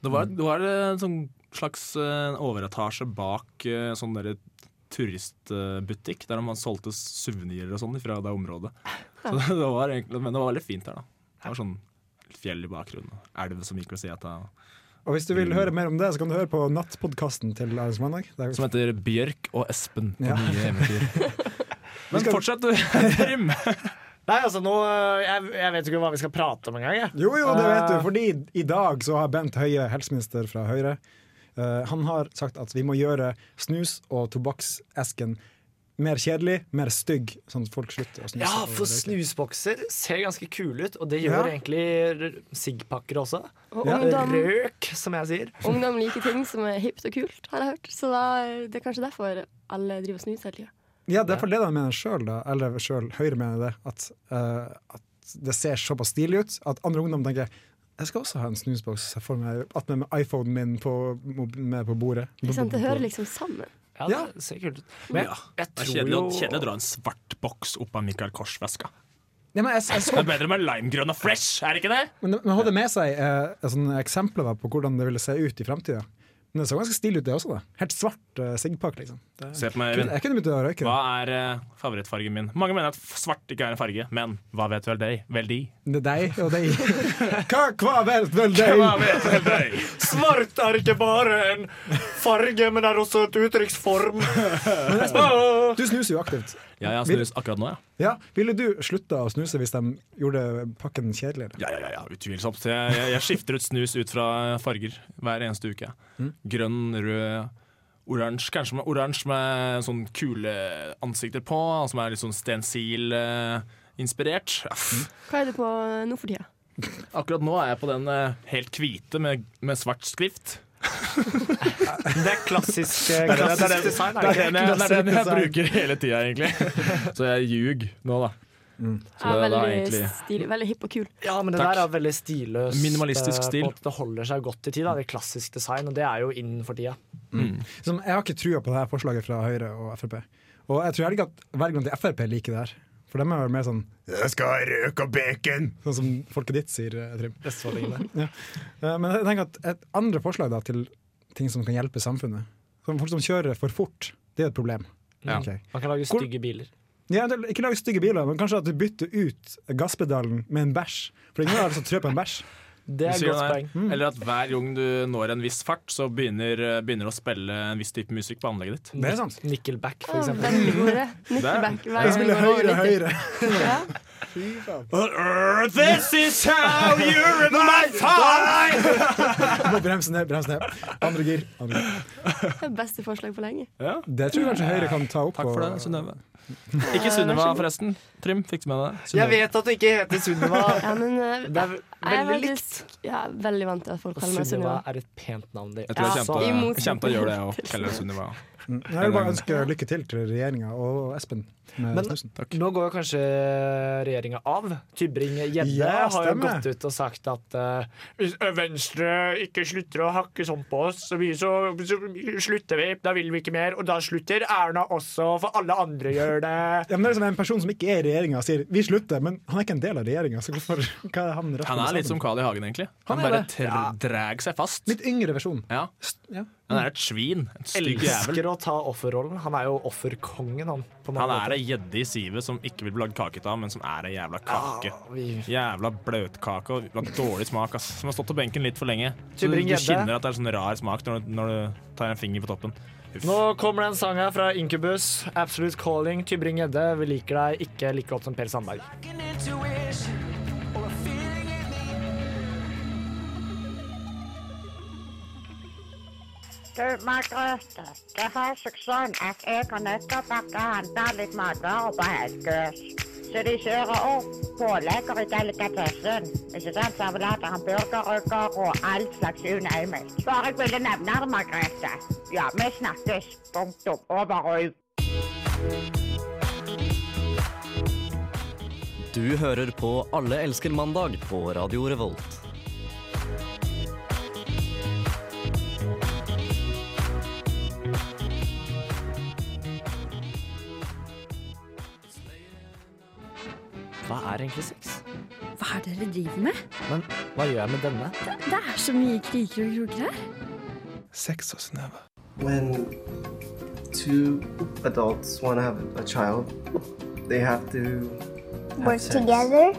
[SPEAKER 6] Det var, det var en sånn slags eh, overetasje bak eh, sånn derre turistbutikk, der man solgte suvenirer og sånn fra det [laughs] området. Så det, det var egentlig, men det var veldig fint her, da. Det var sånn fjell i bakgrunnen, og elv som gikk ved sida av.
[SPEAKER 4] Og hvis du vil høre mer om det, så kan du høre på nattpodkasten til Ærens Mandag. Det er-
[SPEAKER 6] Som heter Bjørk og Espen på
[SPEAKER 4] Ja.
[SPEAKER 6] nye eventyr. Men fortsett, du. Trym.
[SPEAKER 2] Nei, altså, nå øh, jeg, jeg vet ikke hva vi skal prate om engang. jeg.
[SPEAKER 4] Jo, jo, det vet du,
[SPEAKER 2] Eh,
[SPEAKER 4] fordi i dag så har Bent Høie, helseminister fra Høyre, eh, han har sagt at vi må gjøre snus- og tobakksesken mer kjedelig, mer stygg, sånn at folk slutter å snuse.
[SPEAKER 2] Ja,
[SPEAKER 4] og
[SPEAKER 2] for
[SPEAKER 4] røyke.
[SPEAKER 2] snusbokser ser ganske kule ut, og det
[SPEAKER 4] Ja.
[SPEAKER 2] gjør egentlig r- sigpakker også.
[SPEAKER 5] Og
[SPEAKER 2] Ja. eh,
[SPEAKER 5] ungdom-
[SPEAKER 2] Røk, som jeg sier.
[SPEAKER 5] Ungdom liker ting som er hipt og kult, har jeg hørt. Så da, det er kanskje derfor alle driver og snuser hele tida.
[SPEAKER 4] Ja, det er for det de mener sjøl, da. Eller sjøl, Høyre mener det. At, eh, at det ser såpass stilig ut at andre ungdom tenker jeg skal også ha en snusboks jeg får meg attmed med iPhonen min på, med på bordet.
[SPEAKER 5] Ikke sant? Det hører liksom sammen.
[SPEAKER 2] Ja, det ser kult ut. Men jeg, jeg
[SPEAKER 6] Det er
[SPEAKER 2] tror
[SPEAKER 6] kjedelig,
[SPEAKER 2] jo
[SPEAKER 6] å- kjedelig å dra en svart boks opp av Mikael Kors-veska.
[SPEAKER 4] Ja, men jeg, jeg
[SPEAKER 6] Det er
[SPEAKER 4] så,
[SPEAKER 6] bedre med limegrønn og fresh, er det ikke det?
[SPEAKER 4] men man hadde med seg eh, sånne eksempler da, på hvordan det ville se ut i framtida. Men det så ganske stilig ut, det også. da Helt svart eh, siggpakke, liksom. Det,
[SPEAKER 6] Se på meg,
[SPEAKER 4] jeg, kunne,
[SPEAKER 6] Øyvind.
[SPEAKER 4] jeg kunne begynt å røyke.
[SPEAKER 6] Hva er eh, favorittfargen min? Mange mener at f- svart ikke er en farge, men hva vet vel deg? Vel de?
[SPEAKER 4] Det er deg og deg.
[SPEAKER 5] [laughs]
[SPEAKER 4] Hva, hva vel, vel deg?
[SPEAKER 6] Hva vet vel deg?
[SPEAKER 2] Svart er ikke bare en farge, men er også et uttrykksform.
[SPEAKER 4] Du snuser jo aktivt.
[SPEAKER 6] Ja, jeg har snus akkurat nå, ja.
[SPEAKER 4] Ja, Ville du slutta å snuse hvis de gjorde pakken kjedeligere?
[SPEAKER 6] Ja, ja, ja, ja utvilsomt. Jeg, jeg, jeg skifter ut snus ut fra eh, farger hver eneste uke.
[SPEAKER 4] Mm.
[SPEAKER 6] Grønn, rød, oransje. Kanskje med oransje med sånn kule ansikter på, som er litt sånn eh, stensil-inspirert.
[SPEAKER 5] Hva er det på nå for tida?
[SPEAKER 6] Akkurat nå er jeg på den eh, helt hvite med, med svart skrift.
[SPEAKER 2] [laughs] Det er klassisk,
[SPEAKER 6] [laughs] Det
[SPEAKER 2] eh,
[SPEAKER 6] er den- det er
[SPEAKER 2] klassisk
[SPEAKER 6] den-
[SPEAKER 2] design.
[SPEAKER 6] det er den jeg- det er den jeg
[SPEAKER 2] Klassisk design.
[SPEAKER 6] bruker hele tida, egentlig. [laughs] Så jeg ljug nå, da. Så
[SPEAKER 5] Ja,
[SPEAKER 6] det er da
[SPEAKER 5] veldig,
[SPEAKER 6] egentlig
[SPEAKER 5] stilig, veldig hipp og kul.
[SPEAKER 2] Ja, men det
[SPEAKER 6] Takk.
[SPEAKER 2] der er veldig stilløst.
[SPEAKER 6] Minimalistisk
[SPEAKER 2] eh, på
[SPEAKER 6] stil.
[SPEAKER 2] at Det holder seg godt i tid. Da. Det er klassisk design, og det er jo innenfor tida.
[SPEAKER 6] Mm.
[SPEAKER 4] Som, jeg har ikke trua på det her forslaget fra Høyre og Frp. Og jeg tror heller ikke at velgerne til Frp liker det her. For dem er vel mer sånn Jeg skal ha røk og bacon! Sånn som folket ditt sier, eh, Trym. [laughs] ja. Eh, Men jeg tenker at et andre forslag da til ting som kan hjelpe samfunnet som Folk som kjører for fort, det er et problem.
[SPEAKER 2] Ja.
[SPEAKER 4] Ok.
[SPEAKER 2] Man kan lage
[SPEAKER 4] Hvor-
[SPEAKER 2] stygge biler.
[SPEAKER 4] Ja, eventuelt ikke lage stygge biler, men kanskje at du bytter ut gasspedalen med en bæsj. For ingen har som trør på en bæsj.
[SPEAKER 2] Det
[SPEAKER 6] Du sier det. Eller at hver gang du når en viss fart, så begynner, eh, begynner å spille en viss type musikk på anlegget ditt.
[SPEAKER 4] Det er sant.
[SPEAKER 2] Nickelback, for
[SPEAKER 5] Å,
[SPEAKER 2] eksempel.
[SPEAKER 5] Veldig god idé.
[SPEAKER 6] Der.
[SPEAKER 5] Nickelback.
[SPEAKER 4] Jeg spiller høyre og høyre.
[SPEAKER 5] Ja.
[SPEAKER 6] uh, This is how you're in my time!
[SPEAKER 4] Må bremse ned, bremse ned. Andre gir. Andre gir.
[SPEAKER 5] Det er beste forslag på lenge.
[SPEAKER 4] Det tror jeg kanskje Høyre kan ta opp.
[SPEAKER 6] Takk for
[SPEAKER 4] og-
[SPEAKER 6] det, Synnøve. Ikke Sunniva, forresten. Trym, fikk du med deg
[SPEAKER 2] Jeg vet at det ikke heter Sunniva.
[SPEAKER 5] Ja, men eh,
[SPEAKER 2] Det er
[SPEAKER 5] jeg er
[SPEAKER 2] veldig
[SPEAKER 5] faktisk ja, veldig vant til at folk
[SPEAKER 2] Og
[SPEAKER 5] kaller meg
[SPEAKER 2] Sunniva
[SPEAKER 5] Sunniva.
[SPEAKER 2] er et pent navn. Det.
[SPEAKER 6] Jeg tror jeg
[SPEAKER 2] Ja,
[SPEAKER 6] kommer til å-
[SPEAKER 5] i
[SPEAKER 6] jeg kommer til å gjøre det og kalle deg Sunniva.
[SPEAKER 4] Mm. Jeg vil bare ønske lykke til til regjeringa og Espen med
[SPEAKER 2] Men-
[SPEAKER 4] snusen.
[SPEAKER 2] Nå går jo kanskje regjeringa av. Tybring-Gjedde har
[SPEAKER 4] Ja,
[SPEAKER 2] jo
[SPEAKER 4] stemmer.
[SPEAKER 2] gått ut og sagt at eh, hvis Venstre ikke slutter å hakke sånn på oss, så, vi, så, så slutter vi. Da vil vi ikke mer. Og da slutter Erna også, for alle andre gjør det.
[SPEAKER 4] Ja, men det er liksom en person som ikke er i regjeringa, sier 'vi slutter', men han er ikke en del av regjeringa. Så hvorfor hva er han rett
[SPEAKER 6] Han er litt som Carl I. Hagen, egentlig. Han
[SPEAKER 4] Han er
[SPEAKER 6] bare
[SPEAKER 4] det.
[SPEAKER 6] tr- drar seg fast.
[SPEAKER 4] Litt yngre versjon.
[SPEAKER 6] Ja.
[SPEAKER 4] Ja.
[SPEAKER 6] Han er et svin. En stygg jævel.
[SPEAKER 2] Elsker å ta offerrollen. Han er jo offerkongen, han. På
[SPEAKER 6] Han
[SPEAKER 2] mange
[SPEAKER 6] er ei gjedde i sivet som ikke vil bli lagd kake av, men som er ei jævla kake.
[SPEAKER 2] måter. Vi-
[SPEAKER 6] Jævla bløtkake og jævla dårlig smak, ass. Som har stått på benken litt for lenge. Så du, du
[SPEAKER 2] Tybring-Gjedde.
[SPEAKER 6] kjenner at det er sånn rar smak når, du- når du tar en finger på toppen. Uff.
[SPEAKER 2] Nå kommer det en sang her fra Incubus. 'Absolute Calling'. Tybring-Gjedde, vi liker deg ikke like godt som Per Sandberg.
[SPEAKER 13] Du, Margrethe, det har seg sånn at jeg og Nøtterbakke handler litt matvarer på Helgøs. Så de kjører
[SPEAKER 3] oh,
[SPEAKER 13] opp pålegger i delikatessen. Ikke sant? Servelater, hamburgerrygger og all slags unøyelig. Bare jeg ville nevne det, Margrethe. Ja, vi snakkes. Punktum. Over og ut.
[SPEAKER 1] [laughs] Du hører på Alle elsker mandag på Radio Revolt.
[SPEAKER 2] Hva er egentlig sex?
[SPEAKER 14] Hva er det dere driver med?
[SPEAKER 2] Men hva gjør jeg med denne?
[SPEAKER 14] Det, det er så mye kriker og kroker her.
[SPEAKER 15] Sex og snøve. When two adults want to have a child, they have to have
[SPEAKER 16] Work
[SPEAKER 15] sex.
[SPEAKER 16] together.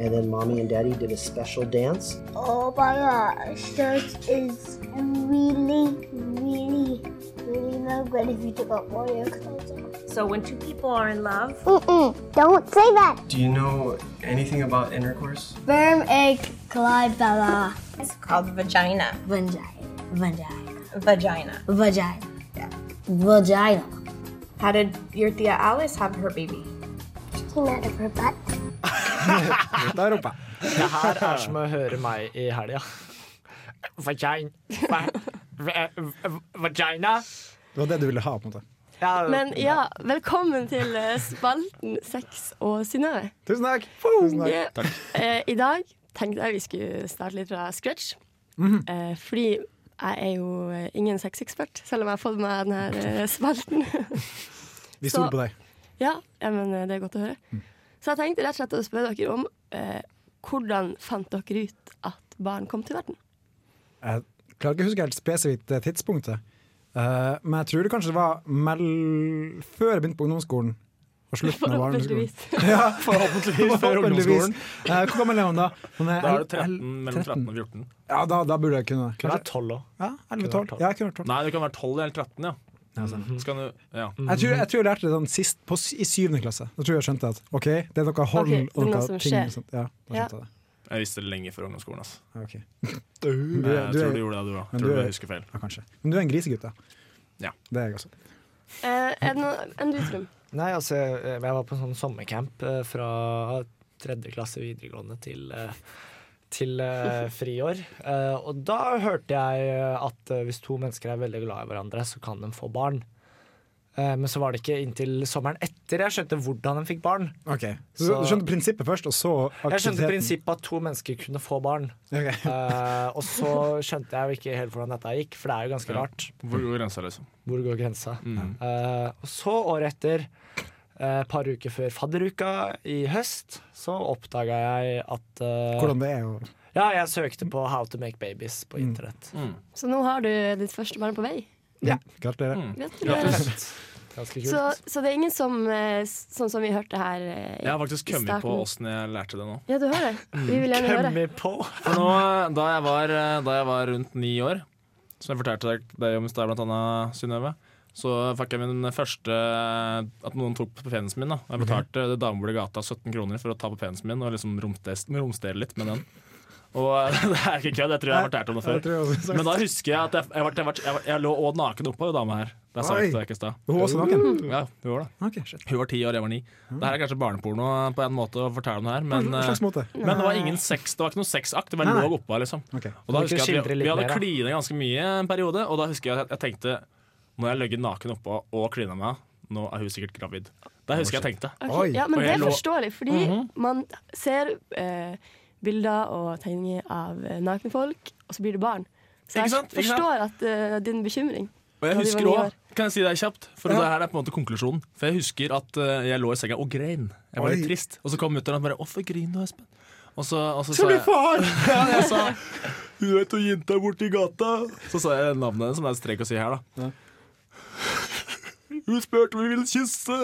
[SPEAKER 15] And then mommy and daddy did a special dance.
[SPEAKER 16] Oh my gosh, search is really, really, really not good if you took out all your clothes off.
[SPEAKER 17] So when two people are in love,
[SPEAKER 16] Mm-mm, don't say that.
[SPEAKER 15] Do you know anything about intercourse?
[SPEAKER 16] Sperm, egg, glybella.
[SPEAKER 17] it's called vagina.
[SPEAKER 16] Vagina. Vagina.
[SPEAKER 17] Vagina.
[SPEAKER 16] Vagina. Vagina.
[SPEAKER 3] How did your Thea Alice have her baby?
[SPEAKER 9] She came out of her butt.
[SPEAKER 2] Ut av rumpa. Det her er som å høre meg i helga. Vagina.
[SPEAKER 15] [laughs]
[SPEAKER 2] Va- va- va- Vagina.
[SPEAKER 4] Det var det du ville ha, på en måte.
[SPEAKER 5] Men ja, velkommen til eh, spalten Sex og Synnøve.
[SPEAKER 4] Tusen takk.
[SPEAKER 5] Yeah. [laughs] Eh, I dag tenkte jeg vi skulle starte litt fra scratch.
[SPEAKER 18] Mhm.
[SPEAKER 5] Eh, fordi jeg er jo eh, ingen sexekspert, selv om jeg har fått meg denne spalten. [laughs]
[SPEAKER 4] Vi
[SPEAKER 5] Så-
[SPEAKER 4] stoler på deg.
[SPEAKER 5] Ja, ja, men eh, det er godt å høre.
[SPEAKER 4] Mm.
[SPEAKER 5] Så jeg tenkte rett og slett å spørre dere om eh, hvordan fant dere ut at barn kom til verden?
[SPEAKER 4] Jeg klarer ikke å huske helt spesifikt det tidspunktet, Eh, men jeg tror det kanskje det var mell... før jeg begynte på ungdomsskolen. Og
[SPEAKER 5] [laughs]
[SPEAKER 4] slutten av barneskolen.
[SPEAKER 5] Forhåpentligvis.
[SPEAKER 4] [laughs] Ja,
[SPEAKER 6] Forhåpentligvis før ungdomsskolen.
[SPEAKER 4] Eh, hvor gammel er man da? Man
[SPEAKER 6] Da er du
[SPEAKER 4] el-
[SPEAKER 6] 13,
[SPEAKER 4] el-
[SPEAKER 6] mellom 13 og 14.
[SPEAKER 4] Ja, da, da burde jeg kunne.
[SPEAKER 2] Kunne vært 12 òg.
[SPEAKER 4] Ja, 11-12. Ja, jeg kunne vært 12.
[SPEAKER 6] Nei, du kan være 12 eller 13, ja.
[SPEAKER 2] Mhm.
[SPEAKER 6] Så kan du, ja.
[SPEAKER 4] Mm. Jeg tror, jeg tror jeg lærte det sånn sist, på, s- i syvende klasse. Da tror jeg jeg skjønte at OK, det er noe hold
[SPEAKER 5] Ok, det er
[SPEAKER 4] og
[SPEAKER 5] noe
[SPEAKER 4] noe
[SPEAKER 5] som
[SPEAKER 4] ting.
[SPEAKER 5] skjer.
[SPEAKER 4] og sånt. Ja, da
[SPEAKER 5] Ja.
[SPEAKER 4] skjønte jeg det.
[SPEAKER 6] Jeg visste det lenge før ungdomsskolen. Altså. [laughs]
[SPEAKER 4] Ok.
[SPEAKER 6] Men
[SPEAKER 4] Du er-
[SPEAKER 6] jeg
[SPEAKER 4] du er-
[SPEAKER 6] tror du gjorde det, du òg.
[SPEAKER 4] men du
[SPEAKER 6] Tror du
[SPEAKER 4] er-
[SPEAKER 6] jeg husker feil.
[SPEAKER 4] Ja, kanskje. Men du er en grisegutt, da.
[SPEAKER 6] Ja.
[SPEAKER 4] Det er jeg også.
[SPEAKER 5] [laughs] Eh, er det noe enn du, Trym?
[SPEAKER 2] Nei, altså, jeg jeg var på en sånn sommercamp eh, fra tredje klasse videregående til, eh, til eh, friår. Eh, Og da hørte jeg eh, at eh, hvis to mennesker er veldig glad i hverandre, så kan de få barn. Eh, Men så var det ikke inntil sommeren etter jeg skjønte hvordan de fikk barn.
[SPEAKER 4] Så, du skjønte prinsippet først, og så
[SPEAKER 2] Jeg skjønte
[SPEAKER 4] aktiviteten?
[SPEAKER 2] prinsippet at to mennesker kunne få barn. Eh, og så skjønte jeg jo ikke helt hvordan dette gikk, for det er jo ganske rart.
[SPEAKER 6] Hvor går grensa, liksom? Mm.
[SPEAKER 2] Hvor går grensa? Eh, og så året etter, et par uker før fadderuka i høst, så oppdaga jeg at eh,
[SPEAKER 4] Hvordan det er å
[SPEAKER 2] Ja, jeg søkte på How to make babies på internett.
[SPEAKER 6] Mm.
[SPEAKER 5] Så nå har du ditt første barn på vei.
[SPEAKER 4] Ja. Gratulerer.
[SPEAKER 6] Mm.
[SPEAKER 5] Gratulerer.
[SPEAKER 2] Ganske kult.
[SPEAKER 5] Så, så det er ingen som, eh, s- sånn som vi hørte her eh, i
[SPEAKER 6] Jeg har faktisk
[SPEAKER 5] i
[SPEAKER 6] kommet på
[SPEAKER 5] starten.
[SPEAKER 6] åssen jeg lærte det nå.
[SPEAKER 5] Ja, du har det. Vi vil gjerne høre.
[SPEAKER 6] For nå, da jeg var, da jeg var rundt ni år, som jeg fortalte deg- deg om i stad, blant annet, Synnøve, så fikk jeg min første At noen tok på penisen min. da Jeg betalte det damebordet i gata 17 kroner for å ta på penisen min og liksom romstes- romstere litt med den. Og [laughs] det er ikke kødd, jeg tror jeg har fortalt om det
[SPEAKER 4] Ja, det tror jeg også jeg har
[SPEAKER 6] før.
[SPEAKER 4] sagt.
[SPEAKER 6] Men da husker jeg at jeg, jeg, var- jeg, var- jeg, var- jeg lå og naken oppå ei dame her. Det sa jeg til deg ikke i stad.
[SPEAKER 4] Hun var også naken?
[SPEAKER 6] Ja, hun var det.
[SPEAKER 4] Ok, shit.
[SPEAKER 6] Hun var ti år, jeg var ni. Det her er kanskje barneporno på en måte å fortelle om det her, men, eh,
[SPEAKER 4] Hva slags måte?
[SPEAKER 6] men det var ingen sex, det var ikke noe sexakt. Det var
[SPEAKER 4] Nei, nei.
[SPEAKER 6] låg oppå, liksom.
[SPEAKER 4] Ok.
[SPEAKER 6] Og da
[SPEAKER 4] Du må ikke
[SPEAKER 6] husker jeg at
[SPEAKER 4] skildre
[SPEAKER 6] vi,
[SPEAKER 4] litt
[SPEAKER 6] vi
[SPEAKER 4] mer,
[SPEAKER 6] hadde
[SPEAKER 4] da.
[SPEAKER 6] klina ganske mye en periode, og da husker jeg at jeg, jeg tenkte Nå har jeg ligget naken oppå og klina meg, nå er hun sikkert gravid. Det husker jeg jeg tenkte.
[SPEAKER 5] Ok, Ja, men
[SPEAKER 6] Og
[SPEAKER 5] det
[SPEAKER 6] jeg
[SPEAKER 5] er
[SPEAKER 6] lå- Mhm.
[SPEAKER 5] forståelig, fordi man ser eh, bilder og tegninger av eh, nakne folk, og så blir det barn. Så
[SPEAKER 6] Ikke
[SPEAKER 5] jeg
[SPEAKER 6] sant? Ikke sant?
[SPEAKER 5] forstår at eh, din bekymring.
[SPEAKER 6] Og jeg
[SPEAKER 5] når de var
[SPEAKER 6] husker
[SPEAKER 5] ni år.
[SPEAKER 6] også, kan jeg si det kjapt, for det her er på en måte konklusjonen. For jeg husker at eh, jeg lå i senga og grein. Jeg var litt
[SPEAKER 4] Oi.
[SPEAKER 6] trist. Og så kom mutter'n og bare 'Hvorfor griner du, Espen?' Og så, og så
[SPEAKER 4] Så blir
[SPEAKER 6] jeg-
[SPEAKER 4] far!
[SPEAKER 6] ja, [laughs] jeg sa 'Du vet hun jenta borti gata'. Så sa jeg navnet hennes, som det er strek å si her, da. Hun spurte om vi ville kysse,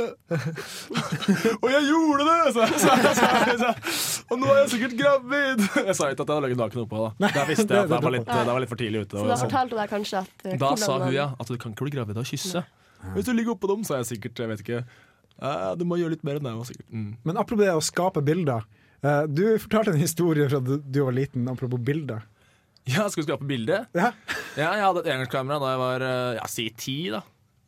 [SPEAKER 6] og jeg gjorde det! Så, så, så, så, Og nå er jeg sikkert gravid! Jeg sa ikke at jeg hadde ligget naken oppå. da Der visste jeg at jeg var litt, det var litt for tidlig ute.
[SPEAKER 5] Så
[SPEAKER 6] og
[SPEAKER 5] da
[SPEAKER 6] sånn.
[SPEAKER 5] fortalte hun deg kanskje at eh,
[SPEAKER 6] Da
[SPEAKER 5] hvordan
[SPEAKER 6] sa hun
[SPEAKER 5] man-
[SPEAKER 6] ja, at du kan ikke bli gravid av å kysse. Hvis du ligger oppå dem, så er jeg sikkert Jeg vet ikke. Eh, du må gjøre litt mer enn det. og sikkert. Mm.
[SPEAKER 4] Men apropos det å skape bilder. eh, Du fortalte en historie fra du du var liten, apropos bilder.
[SPEAKER 6] [laughs] Ja, skal vi skape bilde?
[SPEAKER 4] Ja.
[SPEAKER 6] jeg hadde et engangskamera da jeg var eh, ja, si ti, da.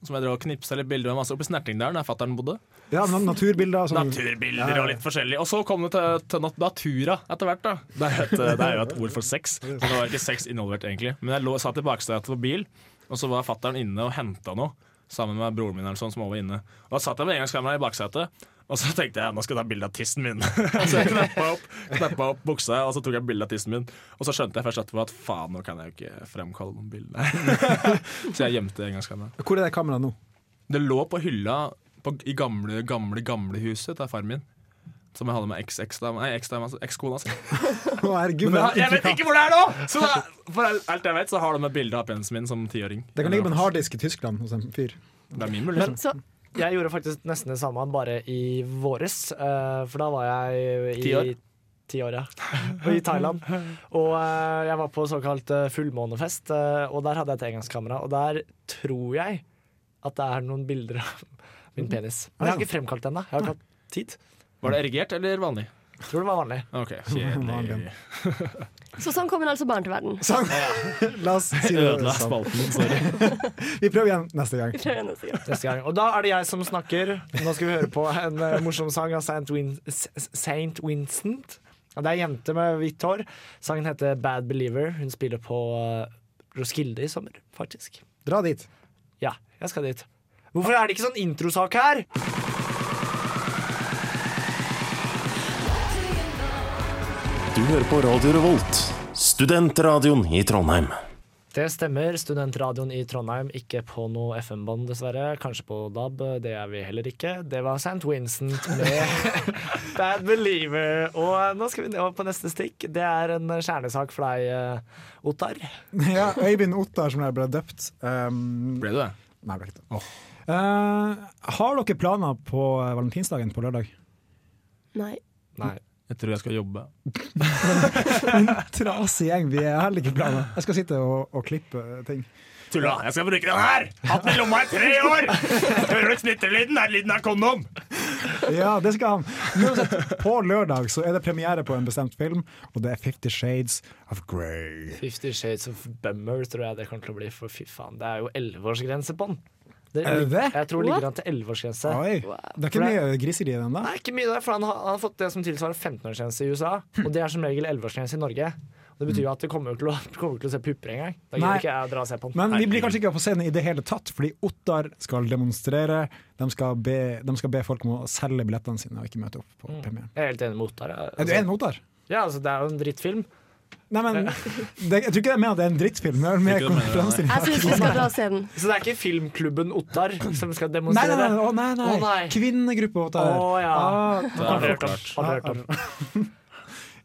[SPEAKER 6] Som jeg drev og knipsa litt bilder med masse oppi Snertingdalen, der fatter'n bodde.
[SPEAKER 4] Ja, na- naturbilder. og sånn.
[SPEAKER 6] Naturbilder og litt forskjellig. Og så kom det til, til nat- Natura etter hvert, da. Det er, jo et, det er jo et ord for sex. Men det var ikke sex involvert, egentlig. Men jeg lå, satt i baksetet på bil, og så var fattern inne og henta noe. Sammen med broren min eller sånn, som også var inne. Og Da satt jeg med engangskameraet i baksetet, og så tenkte jeg nå skal jeg ta bilde av tissen min. [laughs] så jeg kneppa opp, kneppa opp buksa, og så tok jeg bilde av tissen min. Og så skjønte jeg først etterpå at faen, nå kan jeg jo ikke fremkalle noen bilder. [laughs] så jeg gjemte engangskameraet.
[SPEAKER 4] Hvor er det kameraet nå?
[SPEAKER 6] Det lå på hylla på, i gamle, gamle, gamle huset til faren min. Som jeg hadde med eks-eks-dama- nei, eks-dama- eks-kona si.
[SPEAKER 4] [laughs] Å, herregud,
[SPEAKER 6] altså. Men det
[SPEAKER 4] for
[SPEAKER 6] har-
[SPEAKER 4] en
[SPEAKER 6] jeg vet
[SPEAKER 4] intrikat.
[SPEAKER 6] ikke hvor det er nå! Så da, for alt jeg vet, så har de et bilde av penisen min som tiåring.
[SPEAKER 4] Det kan ligge på en harddisk i Tyskland hos en fyr.
[SPEAKER 6] Det er min
[SPEAKER 2] Men
[SPEAKER 6] mulighet.
[SPEAKER 2] jeg gjorde faktisk nesten det samme, bare i våres. eh, for da var jeg i
[SPEAKER 6] Ti år?
[SPEAKER 2] Ti år, ja. [laughs] Og I Thailand. Og eh, jeg var på såkalt eh, fullmånefest, eh, og der hadde jeg et engangskamera. Og der tror jeg at det er noen [laughs] bilder av min penis. Men jeg har ikke fremkalt det ennå. Jeg har ikke hatt tid.
[SPEAKER 6] Var det erigert eller vanlig?
[SPEAKER 2] Tror det var vanlig.
[SPEAKER 4] [laughs]
[SPEAKER 6] Ok, kjedelig.
[SPEAKER 5] Så sånn kom hun altså barn til verden. [laughs]
[SPEAKER 4] Sånn. [laughs] La oss si det
[SPEAKER 6] Ødela
[SPEAKER 4] sånn.
[SPEAKER 6] spalten min, sorry.
[SPEAKER 4] Vi prøver igjen neste gang.
[SPEAKER 2] Neste gang. Og da er det jeg som snakker. Nå skal vi høre på en eh, morsom sang av St. Win S- Saint Vincent. Ja, Det er ei jente med hvitt hår. Sangen heter Bad Believer. Hun spiller på eh, Roskilde i sommer, faktisk.
[SPEAKER 4] Dra dit. [laughs]
[SPEAKER 2] Ja, jeg skal dit. Hvorfor er det ikke sånn introsak her?
[SPEAKER 1] Du hører på Radio Revolt, studentradioen i Trondheim.
[SPEAKER 2] Det stemmer. Studentradioen i Trondheim, ikke på noe FM-bånd, dessverre. Kanskje på DAB, det er vi heller ikke. Det var St. Vincent med Bad Believer. Og nå skal vi over på neste stikk. Det er en kjernesak for deg, eh, Ottar.
[SPEAKER 4] ja, Øyvind Ottar, som jeg ble døpt. ble
[SPEAKER 6] du det?
[SPEAKER 4] Nei, jeg ble ikke det. Eh, har dere planer på eh, valentinsdagen på lørdag? [laughs]
[SPEAKER 5] Nei.
[SPEAKER 2] Nei.
[SPEAKER 6] Jeg tror jeg skal jobbe.
[SPEAKER 4] En trasig gjeng. Vi har heller ikke planer. Jeg skal sitte og, og klippe eh, ting.
[SPEAKER 6] Tulla! Jeg skal bruke den her! Hatt den i lomma i tre år! Hører du knyttelyden? Det er lyden av kondom!
[SPEAKER 4] Ja, det skal han. Men Uansett, på lørdag så er det premiere på en bestemt film, og det er Fifty Shades of Grey.
[SPEAKER 2] Fifty Shades of Bummer tror jeg det kommer til å bli, for fy faen, det er jo elleveårsgrense på den.
[SPEAKER 4] Er det det?
[SPEAKER 2] Jeg tror det ligger an til elleveårsgrense.
[SPEAKER 4] Oi, det er ikke mye griseri i den, da?
[SPEAKER 2] Nei, ikke mye der, for han har, han har fått det som tilsvarer 15-årsgrense i USA. Og det er som regel 11-årsgrense i Norge. Og det betyr jo at du kommer jo til å, [laughs] du kommer jo ikke til å se pupper engang. Da
[SPEAKER 4] Nei.
[SPEAKER 2] gidder ikke jeg å dra og se på den.
[SPEAKER 4] Men vi blir kanskje ikke på scenen i det hele tatt, fordi Ottar skal demonstrere. De skal be, de skal be folk om å selge billettene sine og ikke møte opp på premieren.
[SPEAKER 2] Jeg er helt enig med Ottar. jeg.
[SPEAKER 4] Er du enig med Ottar?
[SPEAKER 2] Ja, altså, det er jo en drittfilm.
[SPEAKER 4] Nei, men [laughs] det, Jeg tror ikke de mener at det er en drittfilm. Det er mer
[SPEAKER 2] Ikke det mener, nei.
[SPEAKER 4] konkurranser.
[SPEAKER 2] Jeg synes vi skal dra
[SPEAKER 5] og se den. [laughs]
[SPEAKER 2] Så det er ikke filmklubben Ottar som skal
[SPEAKER 4] Nei,
[SPEAKER 2] demonstrere?
[SPEAKER 4] nei, nei, å, nei, nei.
[SPEAKER 2] Å, nei.
[SPEAKER 4] Kvinnegruppa Ottar.
[SPEAKER 2] Å, ja.
[SPEAKER 4] Ah,
[SPEAKER 2] Det har jeg hørt om.
[SPEAKER 4] Ah,
[SPEAKER 2] Har jeg hørt om.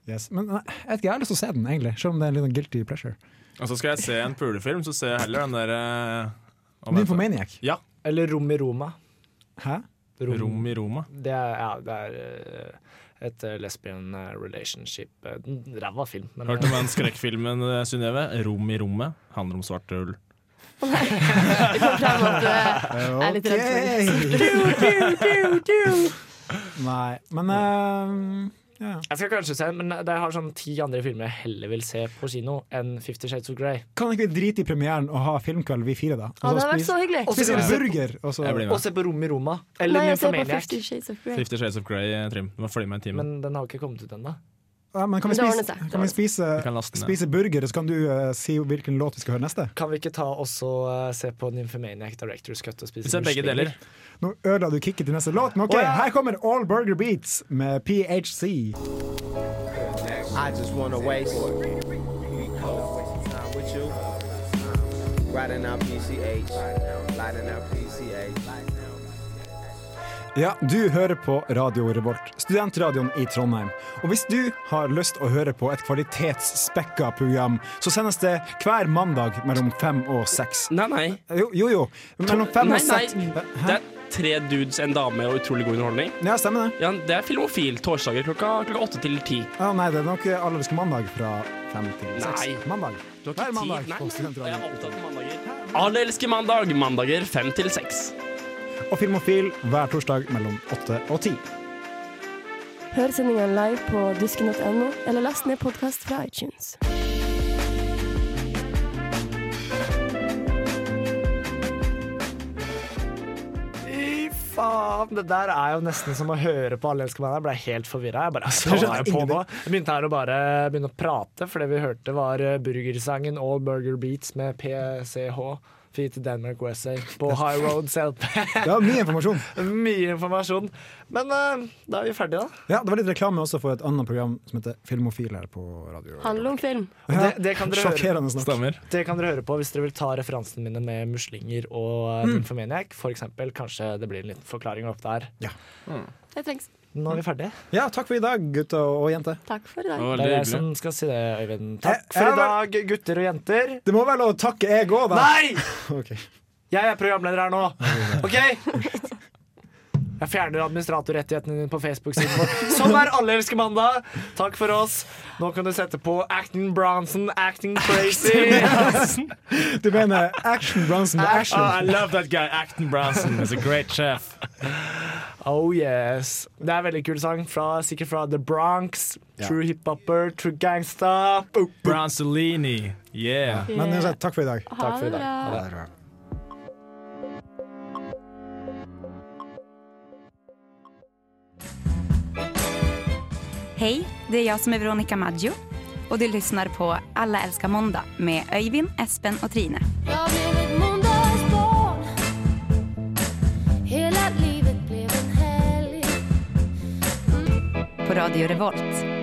[SPEAKER 4] Yes. Men nei, jeg vet ikke, jeg har lyst til å se den, egentlig. Selv om det er en liten guilty pleasure.
[SPEAKER 6] Og så skal jeg se en pulefilm, så ser jeg heller den eh, derre
[SPEAKER 4] Nymphomaniac.
[SPEAKER 6] Ja.
[SPEAKER 2] Eller Rom i Roma.
[SPEAKER 4] Hæ?
[SPEAKER 6] Rom. i Roma.
[SPEAKER 2] Det er, ja, det er eh, et eh, lesbian eh, relationship. eh, en Ræva film. men-
[SPEAKER 6] Hørte om den skrekkfilmen eh, Synnøve? 'Rom i rommet' handler om svart ull.
[SPEAKER 5] Det kom frem at du er litt redd for det.
[SPEAKER 4] Nei, men eh, ja.
[SPEAKER 2] Jeg skal kanskje se, men det har sånn ti andre filmer jeg heller vil se på kino enn Fifty Shades of Grey.
[SPEAKER 4] Kan ikke vi drite i premieren og ha filmkveld, vi fire, da?
[SPEAKER 2] Ja,
[SPEAKER 4] Og
[SPEAKER 2] det hadde vært
[SPEAKER 4] spise-
[SPEAKER 2] så hyggelig.
[SPEAKER 4] Spise en burger, og så
[SPEAKER 6] Jeg blir med.
[SPEAKER 2] Og se på Rom i Roma. Eller
[SPEAKER 5] Nei, jeg ser på
[SPEAKER 2] Nymphomaniac.
[SPEAKER 5] Fifty Shades of Grey.
[SPEAKER 6] Fifty Shades of Grey, eh, Trym. Du må følge med en time.
[SPEAKER 2] Men den har ikke kommet ut ennå.
[SPEAKER 4] Ja, men kan vi
[SPEAKER 2] Men det
[SPEAKER 4] spise,
[SPEAKER 2] ordner seg.
[SPEAKER 4] kan vi spise,
[SPEAKER 6] Vi kan laste den ned.
[SPEAKER 4] spise burger, og så kan du eh, si hvilken låt vi skal høre neste?
[SPEAKER 2] Kan vi ikke ta også eh, se på Nymphomaniac Directors Cut og spise
[SPEAKER 6] Vi ser begge
[SPEAKER 2] muslinger?
[SPEAKER 6] deler.
[SPEAKER 4] Nå ødela du kicket til neste låt, men OK,
[SPEAKER 2] Å, ja.
[SPEAKER 4] her kommer All Burger Beats med PHC.
[SPEAKER 19] I just wanna waste time with you. Riding out PCH, lighting out PCH.
[SPEAKER 4] Ja, du hører på Radio Revolt, studentradioen i Trondheim. Og hvis du har lyst å høre på et kvalitetsspekka program, så sendes det hver mandag mellom fem og seks.
[SPEAKER 20] Nei, nei.
[SPEAKER 4] Jo, jo. jo. Mellom fem
[SPEAKER 20] Nei,
[SPEAKER 4] og
[SPEAKER 20] nei.
[SPEAKER 4] seks.
[SPEAKER 20] Det er tre dudes, en dame og utrolig god underholdning.
[SPEAKER 4] Ja, stemmer det.
[SPEAKER 20] Ja, det er Filmofil torsdager klokka, klokka åtte til ti.
[SPEAKER 4] Ja, nei, det er nok allerske mandag fra fem til seks.
[SPEAKER 20] Nei.
[SPEAKER 4] Mandag.
[SPEAKER 20] Du har
[SPEAKER 4] Hver
[SPEAKER 20] ikke tid. Nei, nei.
[SPEAKER 4] mandag på
[SPEAKER 20] Jeg
[SPEAKER 4] Studentradioen.
[SPEAKER 20] er opptatt av mandager. Alle elsker mandag. Mandager fem til seks.
[SPEAKER 4] Og Filmofil hver torsdag mellom åtte og ti.
[SPEAKER 5] Hør sendingen live på dusken.no, eller last ned podkast fra iTunes.
[SPEAKER 2] Fy faen! Det der er jo nesten som å høre på Alle elsker meg. Jeg ble helt forvirra. Jeg bare hva
[SPEAKER 4] skjønner
[SPEAKER 2] er det på
[SPEAKER 4] ingenting.
[SPEAKER 2] nå? Jeg begynte her å bare begynne å prate, for det vi hørte var eh, burgersangen All Burger Beats med PCH. Feet to Denmark USA på High Road Selp.
[SPEAKER 4] Det var mye informasjon.
[SPEAKER 2] [laughs] Mye informasjon. Men eh, da er vi ferdige, da.
[SPEAKER 4] Ja, Det var litt reklame også for et annet program som heter Filmofil her på radio.
[SPEAKER 5] Handler om film.
[SPEAKER 2] Og Det, det, kan dere
[SPEAKER 4] Sjokkerende snakk.
[SPEAKER 2] høre, det kan dere høre på hvis dere vil ta referansene mine med muslinger og
[SPEAKER 4] Mm.
[SPEAKER 2] nymphomaniac. For eksempel, kanskje det blir en liten forklaring opp der.
[SPEAKER 5] Det trengs.
[SPEAKER 2] Nå er vi ferdige.
[SPEAKER 4] Ja, takk for i dag, gutter og jenter.
[SPEAKER 5] Takk for i dag.
[SPEAKER 2] Det er jeg som skal si det, Øyvind. Takk for i dag, gutter og jenter.
[SPEAKER 4] Det må være lov å takke jeg òg, da.
[SPEAKER 2] Nei!
[SPEAKER 4] Ok. [laughs]
[SPEAKER 2] Jeg er programleder her nå. OK? Jeg fjerner administratorrettighetene dine på Facebook-siden vår. Sånn er Alle elsker mandag. Takk for oss. Nå kan du sette på Acting Bronson, Acting Crazy.
[SPEAKER 4] Du mener Action Bronson og Action.
[SPEAKER 2] Ah,
[SPEAKER 6] Oh, I love that guy, Acton Branson. He's a great chef.
[SPEAKER 2] Oh yes. Det er en veldig kul sang, fra, sikkert fra The Bronx.
[SPEAKER 6] Ja.
[SPEAKER 2] True hiphopper, true gangsta. Boop, boop.
[SPEAKER 6] Bronzolini. Yeah.
[SPEAKER 4] Men uansett, takk for i dag.
[SPEAKER 2] Takk for i dag. Ha det.
[SPEAKER 3] Hej, det är jag som är Veronica Maggio och du lyssnar på Alla älskar måndag med Öyvind, Espen och Trine.
[SPEAKER 5] Jag blev ett måndagsbarn Hela livet blev en helg
[SPEAKER 3] På Radio Revolt.